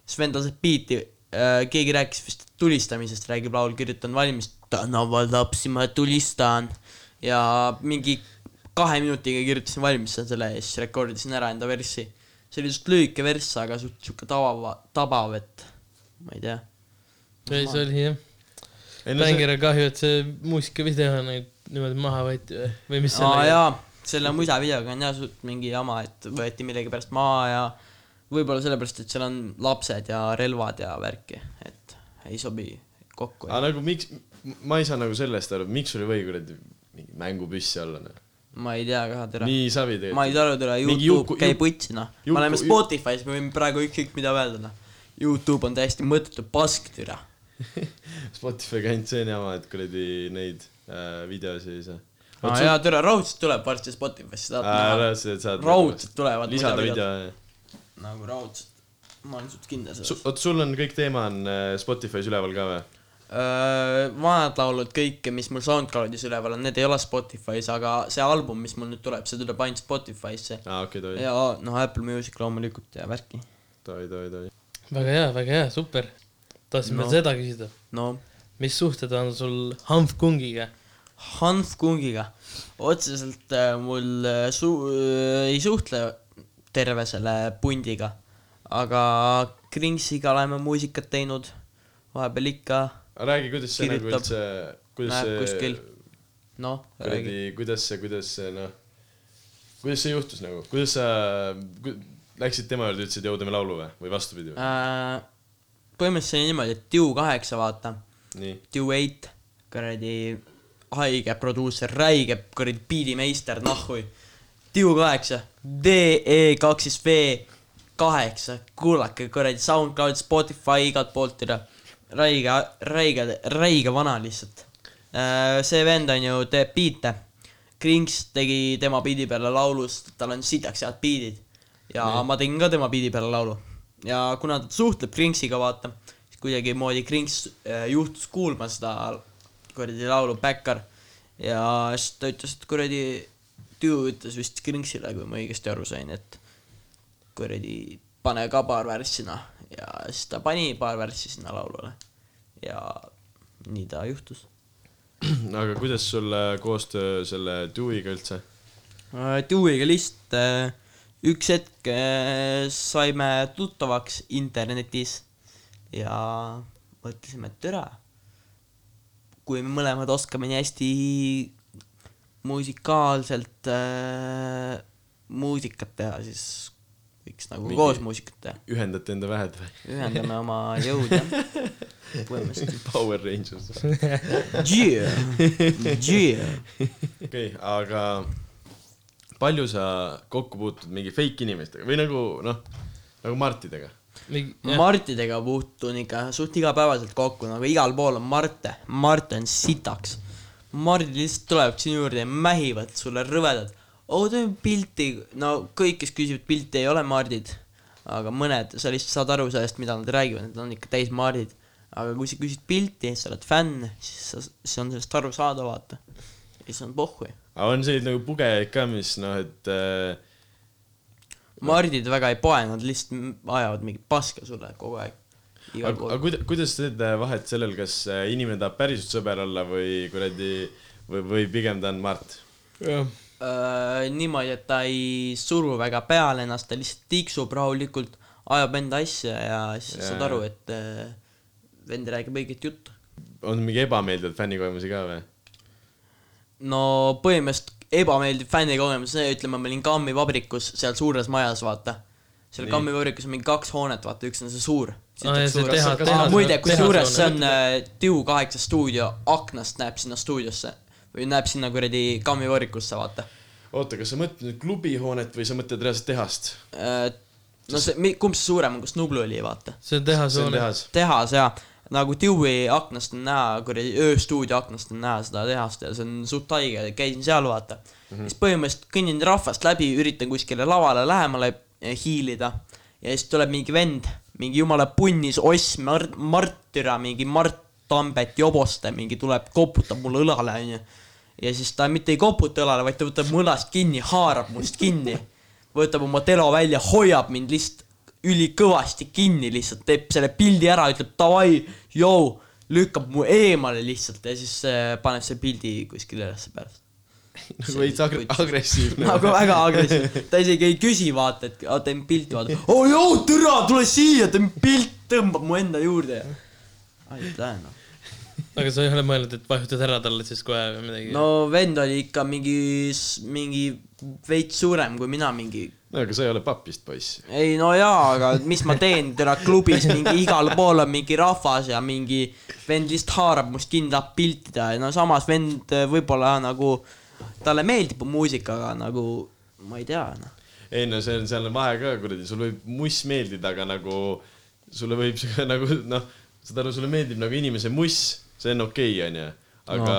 siis vend laseb biiti äh, , keegi rääkis vist tulistamisest , räägib laul , kirjutan valmis , tänaval lapsi ma tulistan ja mingi kahe minutiga kirjutasin valmis selle ja siis rekordisin ära enda verssi . see oli suht lühike verss , aga suht siuke tava , tabav , et ma ei tea .
ei , see oli jah . Bängera kahju , et see muusikavideo nüüd niimoodi maha võeti või , või mis
aa
sellega
jaa , selle muisa videoga on jah suht mingi jama , et võeti millegipärast maha ja võib-olla sellepärast , et seal on lapsed ja relvad ja värki , et ei sobi kokku .
aga nagu miks , ma ei saa nagu sellest aru , miks sul ei või kuradi mingi mängupüssi olla , noh .
ma ei tea ka teda ,
nii savi
Noh, ma ei
tegelikult .
saa aru teda ,
Mingi Juku-
Youtube käib
Juku-
võtsi noh ,
Juku-
me oleme
Ju-
Spotify's , me võime praegu ükskõik mida öelda noh . Youtube on täiesti mõttetu pask türa ,
Spotify'ga ainult see on jama , et kuradi neid äh, videosi ei saa .
aa jaa , tere , raudselt tuleb varsti Spotify'sse , saad näha .
ära , sa saad .
raudselt tulevad
lisada video .
nagu raudselt , ma olen suht kindel selles .
oot , sul on kõik teema on äh, Spotify's üleval ka või ?
Öö, Äh, vanad laulud , kõik , mis mul SoundCloudis üleval on , need ei ole Spotify's , aga see album , mis mul nüüd tuleb , see tuleb ainult Spotify'sse .
aa , okei , tohi ,
ja noh , Apple Music loomulikult ja värki .
tohi , tohi , tohi .
väga hea , väga hea , super . tahtsin veel
No.
no. seda küsida ,
no
mis suhted on sul Hanfkungiga ?
Hanf Kungiga , otseselt äh, mul äh, su- äh, , ei suhtle terve selle pundiga , aga Kringsiga oleme muusikat teinud , vahepeal ikka ,
räägi , kuidas see nagu
Kirjutab,
üldse , kuidas
näeb
see
kuskil. , noh , räägi .
kuradi , kuidas see , kuidas see noh , kuidas see juhtus nagu , kuidas sa ku, läksid tema juurde , ütlesid , jõu , teeme laulu või , või vastupidi või ?
Äh, põhimõtteliselt see oli niimoodi , et Tiu kaheksa , vaata
nii , (clears throat)
Duet , kuradi haige produusser , räige kuradi biidimeister , nahhui . Tiu kaheksa , DE kaks siis V kaheksa , kuulake kuradi SoundCloud , Spotify igalt poolt üle . räige , räige , räige vana lihtsalt . see vend on ju , teeb biite . Krings tegi tema biidi peale laulust , tal on sitaks head biidid . ja mm. ma tegin ka tema biidi peale laulu . ja kuna ta suhtleb Kringsiga , vaata , siis kuidagimoodi Krings äh, juhtus kuulma seda kuradi laulu Backyard ja siis ta ütles , et kuradi , tüü ütles vist Kringsile , kui ma õigesti aru sain , et kuradi , pane ka paar värssi sinna ja siis ta pani paar värssi sinna laulule ja nii ta juhtus .
aga kuidas sul äh, koostöö selle Dewey'ga üldse ?
Dewey'ga lihtsalt äh, üks hetk äh, saime tuttavaks internetis ja mõtlesime , et türa , kui me mõlemad oskame nii hästi musikaalselt äh, muusikat teha , siis võiks nagu
Mingi-
Mingi... koos muusikat teha ,
ühendate enda vähed või ? (laughs)
ühendame oma jõud jah , põhimõtteliselt .
Power Rangers .
Yeah. Yeah.
okei okay, , aga palju sa kokku puutud mingi fake inimestega või nagu noh , nagu Martidega ?
mingi ,
Ma Martidega puutun ikka suht igapäevaselt kokku , nagu igal pool on Marte , Mart on sitaks . Mardid lihtsalt tulevad sinu juurde ja mähivad sulle rõvedad . oo , teeme pilti , no kõik , kes küsivad pilti , ei ole Mardid . aga mõned , sa lihtsalt saad aru sellest , mida nad räägivad , nad on ikka täis Mardid . aga kui sa küsid pilti , sa oled fänn , siis sa , siis on sellest aru saada , vaata . ja siis on pohhui .
aga on selliseid nagu pugejaid ka , mis noh , et äh,
Mardid väga ei poe , nad lihtsalt m- ajavad mingit paska sulle kogu aeg . igal
aga
pool .
kuidas , kuidas te teete vahet sellel , kas äh, inimene tahab päriselt sõber olla või kuradi või , või pigem ta on Mart ?
jah ,
Öö, Äh, niimoodi , et ta ei suru väga peale ennast , ta lihtsalt tiksub rahulikult , ajab enda asja ja
Jaa,
siis yeah. saad
jaa.
aru , et öö, vend räägib õiget juttu .
on mingi ebameeldivaid fännikogemusi ka või ?
no põhimõtteliselt ebameeldiv fännikogemus , see ütleme , ma olin kammivabrikus seal suures majas , vaata . seal
Nii.
kammivabrikus on mingi kaks hoonet , vaata , üks on see suur .
Aa, ja see teha-
Ah,
tehas-
muide , kusjuures see
tehashoone.
on äh, Tiu kaheksa stuudio , aknast näeb sinna stuudiosse või näeb sinna kuradi kammivabrikusse , vaata
oota , kas sa mõtled nüüd klubihoonet või sa mõtled reaalselt tehast ?
Äh, no see , kumb see suurem on , kus Nublu oli , vaata .
see
see on
on
tehashoone .
tehas .
tehas ja nagu Dewey aknast on näha , kuradi ööstuudio aknast on näha seda tehast ja see on suht haige , käisin seal vaata mm . -hmm. siis põhimõtteliselt kõnnin rahvast läbi , üritan kuskile lavale lähemale eh, hiilida ja siis tuleb mingi vend , mingi jumala punnis oss , Mart , Martüra , mingi Mart Tambet joboste mingi tuleb , koputab mulle õlale onju . ja siis ta mitte ei koputa õlale , vaid ta võtab mu õlast kinni , haarab must kinni , võtab oma telo välja , hoiab mind lihtsalt ülikõvasti kinni lihtsalt , teeb selle pildi ära , ütleb davai , joo , lükkab mu eemale lihtsalt ja siis äh, paneb selle pildi kuskile ülesse pärast .
(laughs) nagu veits agre- , agressiivne .
nagu väga
(laughs)
agressiivne , ta isegi ei küsi , vaata , et "Aa, teeme pilti , vaata , oo joo , türa , tule siia , teeme pilt , tõmbab mu enda juurde ja . aitäh noh .
aga sa ei ole mõelnud , et vajutad ära talle siis kohe või midagi ?
no vend oli ikka mingi , mingi veits suurem kui mina , mingi
no aga sa ei ole papist poiss .
ei no jaa , aga mis ma teen täna klubis mingi igal pool on mingi rahvas ja mingi vend lihtsalt haarab must kinni , tahab pilti teha ja no samas vend eh, võib-olla nagu , talle meeldib mu muusika , aga nagu ma ei tea noh .
ei no see on , seal on vahe ka kuradi , sul võib muss meeldida , aga nagu sulle võib see ka nagu noh , saad aru , sulle meeldib nagu inimese muss , see on okei , onju , aga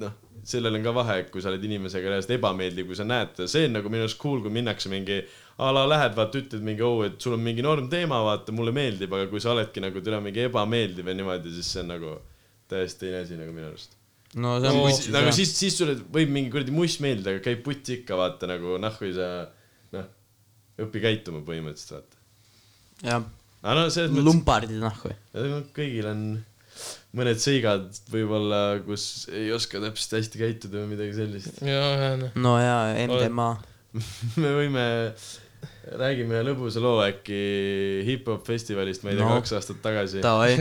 noh , sellel on ka vahe , kui sa oled inimesega reaalselt ebameeldiv , kui sa näed , see on nagu minu arust cool , kui minnakse mingi a la lähed , vaata , ütled mingi oo , et sul on mingi norm teema , vaata , mulle meeldib , aga kui sa oledki nagu türa mingi ebameeldiv ja niimoodi , siis see on nagu täiesti teine asi nagu minu arust .
no see on
nagu
pussis
siis ,
jah
nagu . siis , siis sulle võib mingi kuradi muss meeldida , aga käib putti ikka , vaata nagu nahku ei saa , noh , õpi käituma põhimõtteliselt , vaata .
jah , noh,
aga no selles mõttes ,
lumpardid nahku .
no kõigil on mõned seigad võib-olla , kus ei oska täpselt hästi käituda või midagi sellist . (laughs)
jaa , noh .
no jaa , MDMA .
me võime , räägime ühe lõbusa loo äkki hip-hop festivalist , ma ei tea no.
No. ,
kaks aastat tagasi .
Davai ,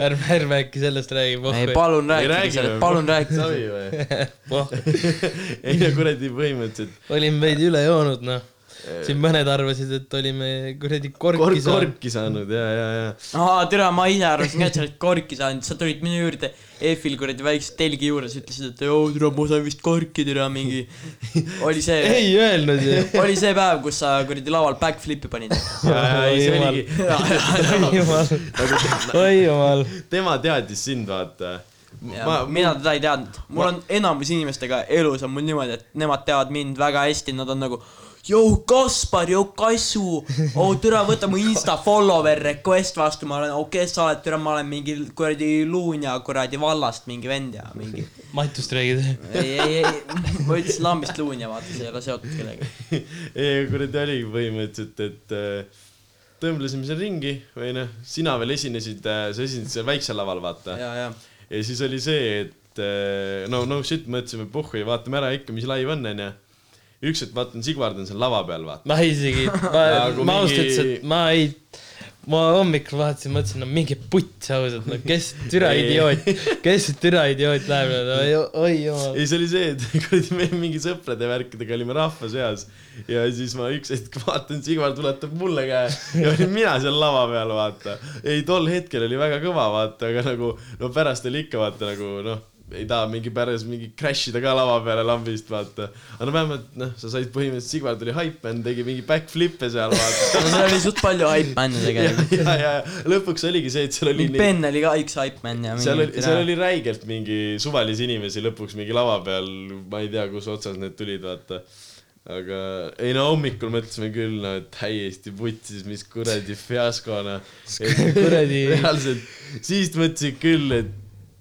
ärme , ärme äkki sellest räägi ,
ei
vohh ,
palun rääkige sellest , palun rääkige .
savi või ?
vohh .
ei no kuradi põhimõtteliselt
olime veidi üle joonud , noh . siin mõned arvasid , et olime kuradi
kork ,
korki saanud .
korki eh, saanud ja , ja , ja
aa , türa , ma ise arvasin ka , et sa oled korki saanud , sa tulid minu juurde EF-il kuradi väikse telgi juures , ütlesid , et joo , türa , ma sain vist korki , türa , mingi . oli see ,
ei öelnud
(laughs)
ju .
oli see päev , kus sa kuradi laual backflip'i
(laughs)
panid .
ja , ja ei see
Jumal.
oligi ,
oi jumal ,
Nagu
oi jumal .
tema teadis sind , vaata . ma ,
mina teda ei teadnud , mul on enamus inimestega elus on mul niimoodi , et nemad teavad mind väga hästi , nad on nagu . Jou , Kaspar , jou , Kassu , oo türa , võta mu insta follower request vastu , ma olen , oo kes sa oled , türa , ma olen mingi kuradi Luunja kuradi vallast mingi vend ja mingi .
(laughs)
Matust räägid ?
ei , ei , ei , ma ütlesin lambist luunja , vaata , see ei ole seotud kellegagi .
(laughs) ei , kuradi oligi põhimõtteliselt , et äh, tõmblesime seal ringi või noh , sina veel esinesid , sa esinesid seal väiksel laval , vaata .
ja , ja ,
ja siis oli see , et äh, no , no shit , mõtlesime , puhhi , vaatame ära ikka , mis laiv on , onju . üks hetk vaatan , Sigvard on seal lava peal , vaata .
ma isegi , ma
(laughs) Nagu ,
ma
mingi-
ausalt öeldes , et ma ei , ma hommikul vaatasin , mõtlesin , no mingi putt ausalt , no kes see türa
Ei.
idioot , kes see türa idioot läheb , no oi- oi jumal .
ei , see oli see , et (laughs) kuradi me mingi sõprade värkidega olime rahva seas ja siis ma üks hetk vaatan , Sigvard ulatab mulle käe ja olin mina seal lava peal , vaata . ei , tol hetkel oli väga kõva , vaata , aga nagu no pärast oli ikka vaata nagu noh , ei taha mingi päris mingi crash ida ka lava peale lambist , vaata . aga no vähemalt noh , sa said põhimõtteliselt , Sigvard oli hype man , tegi mingi backflip'e seal , vaata .
(laughs) no seal oli suht palju hype man'e
ja ,
tegelikult .
ja , ja lõpuks oligi see , et seal oli
mingi . Ben oli ka üks hype man ja
seal
mingi
oli , seal oli räigelt mingi suvalisi inimesi lõpuks mingi lava peal , ma ei tea , kus otsas need tulid , vaata . aga ei no hommikul mõtlesime küll , no täiesti vutsis , mis kuradi fiaskona .
kuradi ,
(laughs) reaalselt , siis mõtlesid küll , et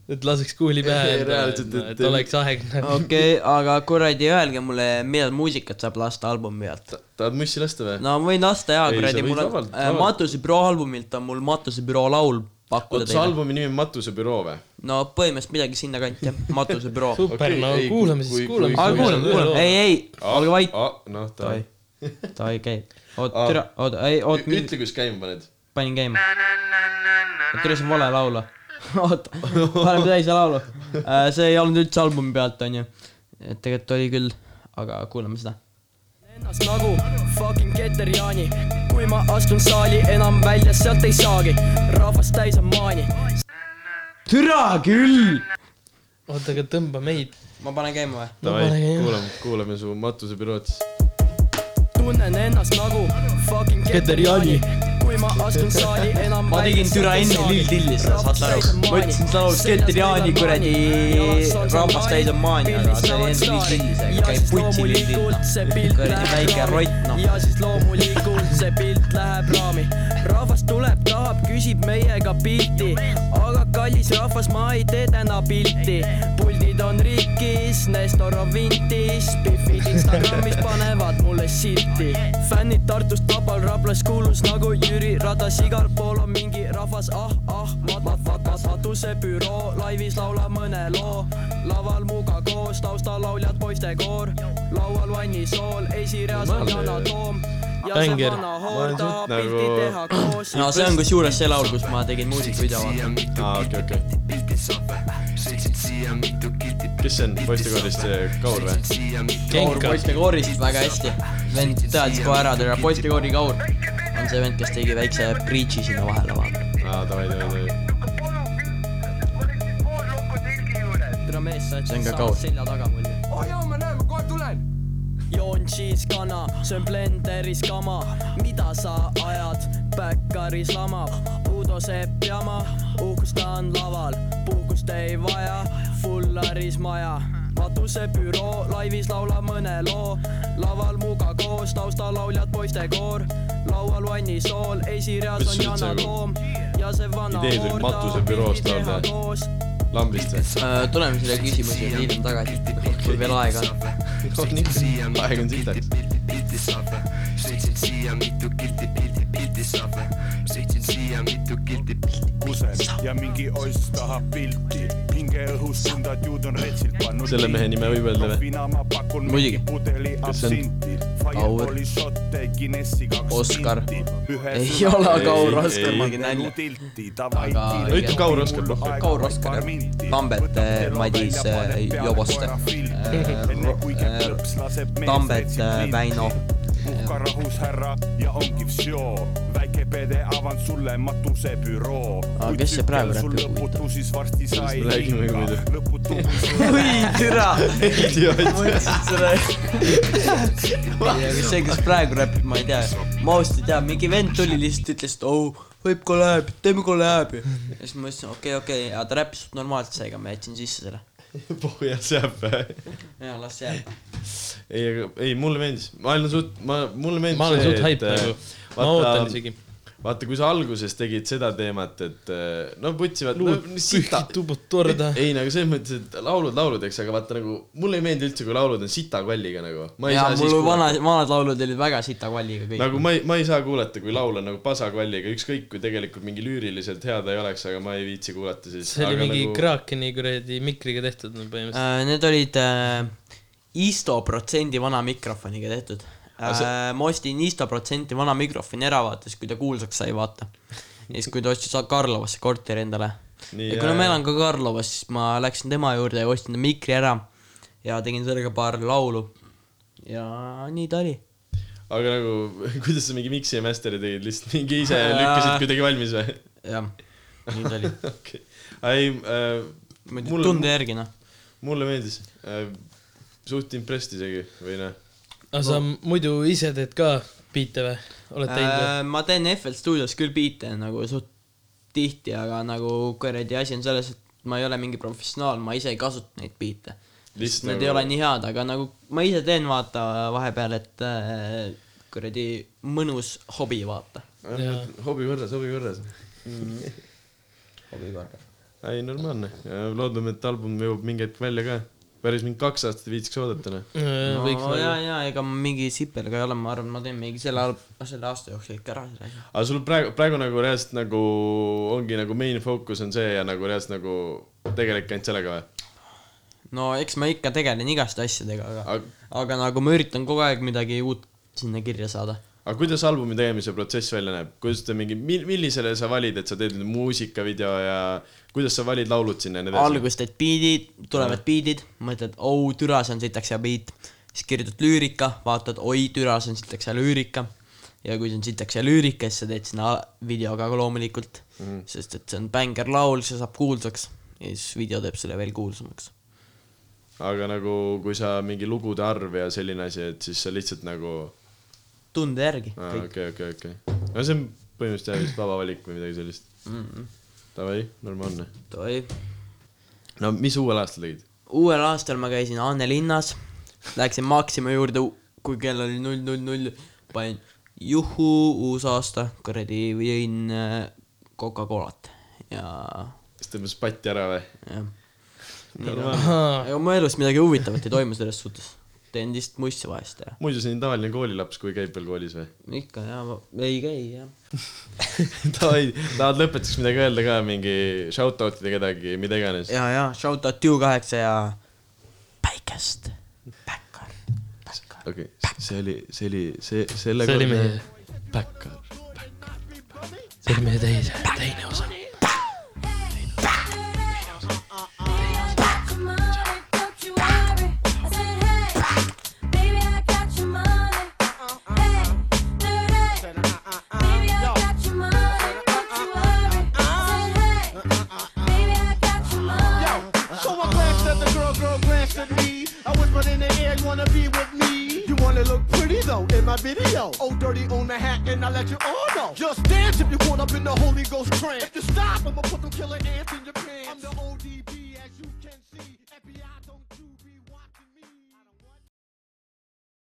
et laseks kuuli pähe
Ei, , reaalselt,
et,
et-
et oleks aegne .
okei okay, , aga kuradi öelge mulle , millal muusikat saab lasta albumi pealt ?
tahad mussi lasta või ?
no ma võin lasta jaa ,
Ei,
kuradi ,
sa võid
mul on
vabalt- , vabalt.
Matusebüroo albumilt on mul Matusebüroo laul pakkuda
oota , see
teile .
albumi nimi on Matusebüroo või ?
no põhimõtteliselt midagi sinnakanti jah , Matusebüroo .
super
Okei,
okay, , no
ei, kui-
kuulame siis ,
kui-
kuulame .
aga kuulame , kuulame , ei , ei , olge vait .
noh ,
davai
davai .,
davai , käi . oot ,
Aa.
türa , oot , ei , oot ,
ütle , kus käima paned .
panin käima . tuli see vale laulu . oota , paneme teise laulu . see ei olnud üldse albumi pealt , onju . tegelikult oli küll , aga kuulame seda .
ennast nagu fucking Keter Jaani , kui ma astun saali , enam välja sealt ei saagi , rahvast täis on maani .
türa küll .
oota , aga tõmba meid .
ma panen käima või ?
davai
pane , käima.
kuulame , kuulame su Matusebürood siis .
tunnen ennast nagu fucking Keter Jaani , kui ma astun saali , enam
ma tegin türa enne Lill Tilli seda , saad sa aru . ma ütlesin seda laulu , Keter Jaani kuradi rahvast täis on maani , aga see oli enne Lill Tilli , see käib putsi Lill Tilli . Kuradi
kuradi
väike rott, noh.
ja siis loomulikult see pilt läheb raami . rahvas tuleb , tahab , küsib meiega pilti , aga kallis rahvas , ma ei tee täna pilti . puldid on rikkis , Nestor on vintis , Biffid Instagramis panevad mulle silti . fännid Tartust , Vabal , Raplas , kuulus nagu Jüri Ratas , igal pool on mingi rahvas , ah , ah , vaat , vaat , vaat , vaat , matusebüroo , laivis laula mõne loo . laval Muga koos , taustalauljad poistekoor , laual vannisool , esireas on Yana Toom . ja see
Bänger.
vana
Ma
hoor
olen
tahab
suht
pilti
nagu-
teha koos .
no see on kusjuures see laul , kus ma tegin muusikavideo , vaata .
aa , Ah, okei , okei . kes see on , poistekoolist see Kaur või ?
Kaur
Genka ,
poiste koorist väga hästi . vend teadis kohe ära , türa poiste koori Kaur on see vend , kes tegi väikse breach'i sinna vahele , vaata .
aa , Ah, davai , davai , davai .
tere mees , sa oled
See on
siin
ka
saanud
kaur.
selja taga mul ju .
oh jaa , ma näen , ma kohe tulen .
joon cheese kana , söön blenderis kama , mida sa ajad , päkkaris lama , Uudo Marko Sepp jama , uhkustan laval , puhkust ei vaja , fullaris maja . katusebüroo laivis laulab mõne loo , laval muga koos , taustalauljad poistekoor , laual vannisool , esireas
Mis
on
sa üldse
Yana
nagu
Toom ja see vana
ideed olid matusebüroost laulda?
koos
lambist või ?
Äh, tuleme selle küsimuse juurde hiljem tagasi , kui veel aega on .
aeg Ah, on sitaks .
kusen ja mingi oss tahab pilti . hingeõhus tunda , et juud on retsilt pannud .
Selle mehe nime võib öelda või?
või ?
Muidugi.
pudeli
Kes see on?
absinti .
Kaur. Oskar. Ei ole
Kaur Oskar.
aga
No
ütle Kaur Oskar. noh.
Kaur Oskar ja Tambet, eh, Madis, eh, Joboste. Tambet, eh, Väino.
puhka rahus , härra , ja ongi vsio . väike pede avan sulle matusebüroo .
Aga kes see praegu räpi huvitab?
huvitab ? siis varsti sai
me räägime, kui muidu.
lõputu .
(laughs) oi , türa .
idioot . (laughs)
see , kes praegu räpib , ma ei tea , ma ausalt ei tea , mingi vend tuli lihtsalt , ütles , et oh , võib kolläb , teeme kolläbi . ja siis ma ütlesin , okei , okei , aga ta räppis normaalselt , seega ma jätsin sisse selle .
puhujas jääb või ?
ja las jääb .
ei , aga ei , mulle meeldis , ma olen suht , ma , mulle meeldis .
ma olen suht hype nagu , ma ootan isegi .
vaata , kui sa alguses tegid seda teemat , et eh, no putsivad , no
luud
sita
pühkid , tubud torda .
ei nagu selles mõttes , et laulud lauludeks , aga vaata nagu mulle ei meeldi üldse , kui laulud on sita kalliga nagu .
ja mul vana , vanad laulud olid väga sita kvalliga kõik .
nagu ma ei , ma ei saa kuulata , kui laul on nagu pasakvalliga , ükskõik kui tegelikult mingi lüüriliselt hea ta ei oleks , aga ma ei viitsi kuulata siis .
see oli
aga
mingi
nagu...
Krakeni kuradi mikriga tehtud no põhimõtteliselt .
Äh, Need olid äh, Isto protsendi vana mikrofoniga tehtud . Äh, ma ostsin Isto protsenti vana mikrofoni ära , vaatas , kui ta kuulsaks sai , vaata . ja siis , kui ta ostis Karlovasse korteri endale .
Nii,
ja kuna ma
jaa.
elan ka Karlovas , siis ma läksin tema juurde ja ostsin ta mikri ära ja tegin sellega paar laulu . ja nii ta oli .
aga nagu , (laughs) kuidas sa mingi mix'i ja master'i tegid , lihtsalt mingi ise lükkasid kuidagi valmis või ?
jah , nii
(laughs)
ta oli .
okei , ei äh, ,
muidu
mulle ,
tunde järgi , noh .
mulle meeldis äh, , suht impressed isegi või noh ,
aga sa muidu ise teed ka biite või ? oled teinud või ?
Äh, ma teen FL stuudios küll biite nagu suht tihti , aga nagu kuradi asi on selles , et ma ei ole mingi professionaal , ma ise ei kasuta neid biite .
Lihtsalt
Need
nagu-
nagu... ei ole nii head , aga nagu ma ise teen vaata vahepeal , et äh, kuradi mõnus hobi , vaata .
hobi korras , hobi korras .
hobi korras .
ei , normaalne , loodame , et album jõuab mingi hetk välja ka . päris mingi kaks aastat viitsiks oodata , noh .
no
võiks
ja
nagu ,,
ja ega ma mingi sipelga ei ole , ma arvan , ma teen mingi selle , selle aasta jooksul ikka ära selle asja .
aga sul praegu , praegu nagu reaalselt nagu ongi nagu main fookus on see ja nagu reaalselt nagu tegelik ainult sellega või ?
no eks ma ikka tegelen igaste asjadega , aga ,
Aga-
aga nagu ma üritan kogu aeg midagi uut sinna kirja saada
aga kuidas albumi tegemise protsess välja näeb , kuidas ta mingi , mil- , millisele sa valid , et sa teed nüüd muusikavideo ja kuidas sa valid laulud sinna ja nii edasi ?
alguses teed biidid , tulevad biidid , mõtled , oo türa , see on sitaks hea biit . siis kirjutad lüürika , vaatad , oi türa , see on sitaks hea lüürika . ja kui see on sitaks hea lüürika , siis sa teed sinna video ka loomulikult mm. , sest et see on bängerlaul , see saab kuulsaks ja siis video teeb selle veel kuulsamaks .
aga nagu , kui sa mingi lugude arv ja selline asi , et siis sa lihtsalt nagu ,
tunde järgi ah, kõik .
okei , okei , okei . no see on põhimõtteliselt jah , vist vaba valik või midagi sellist . Davai , normaalne .
oi ,
no mis uuel aastal tegid ?
uuel aastal ma käisin Anne linnas , läksin Maxima juurde , kui kell oli null null null , panin juhu , uus aasta , kuradi , jõin äh, Coca-Colat ja ,
kas tõmbas patti ära või ?
jah . ega mu elus midagi huvitavat ei toimu selles suhtes , teen lihtsalt musse vahest ja
muidu see on tavaline koolilaps , kui käib veel koolis või ? (laughs)
ikka ja , ei käi jah .
Davai , tahad lõpetuseks midagi öelda ka , mingi shout-out ida kedagi , mida iganes .
ja , ja shout out you kaheksa ja päikest , päkkar , päkkar .
okei , see oli , see oli , see , selle
see oli
korra-
meie back-up , back-up , see oli meie teise , teine osa .
So I glanced at the girl, girl glanced at me. I whispered in the air, you wanna be with me? You wanna look pretty though,
Lino in my video. Oh, dirty on the hat, and I let you all know. Just dance if you want up in the Holy Ghost trance. If you stop, I'ma put them killer ants in your pants. I'm the ODB, as you can see. FBI, don't you be.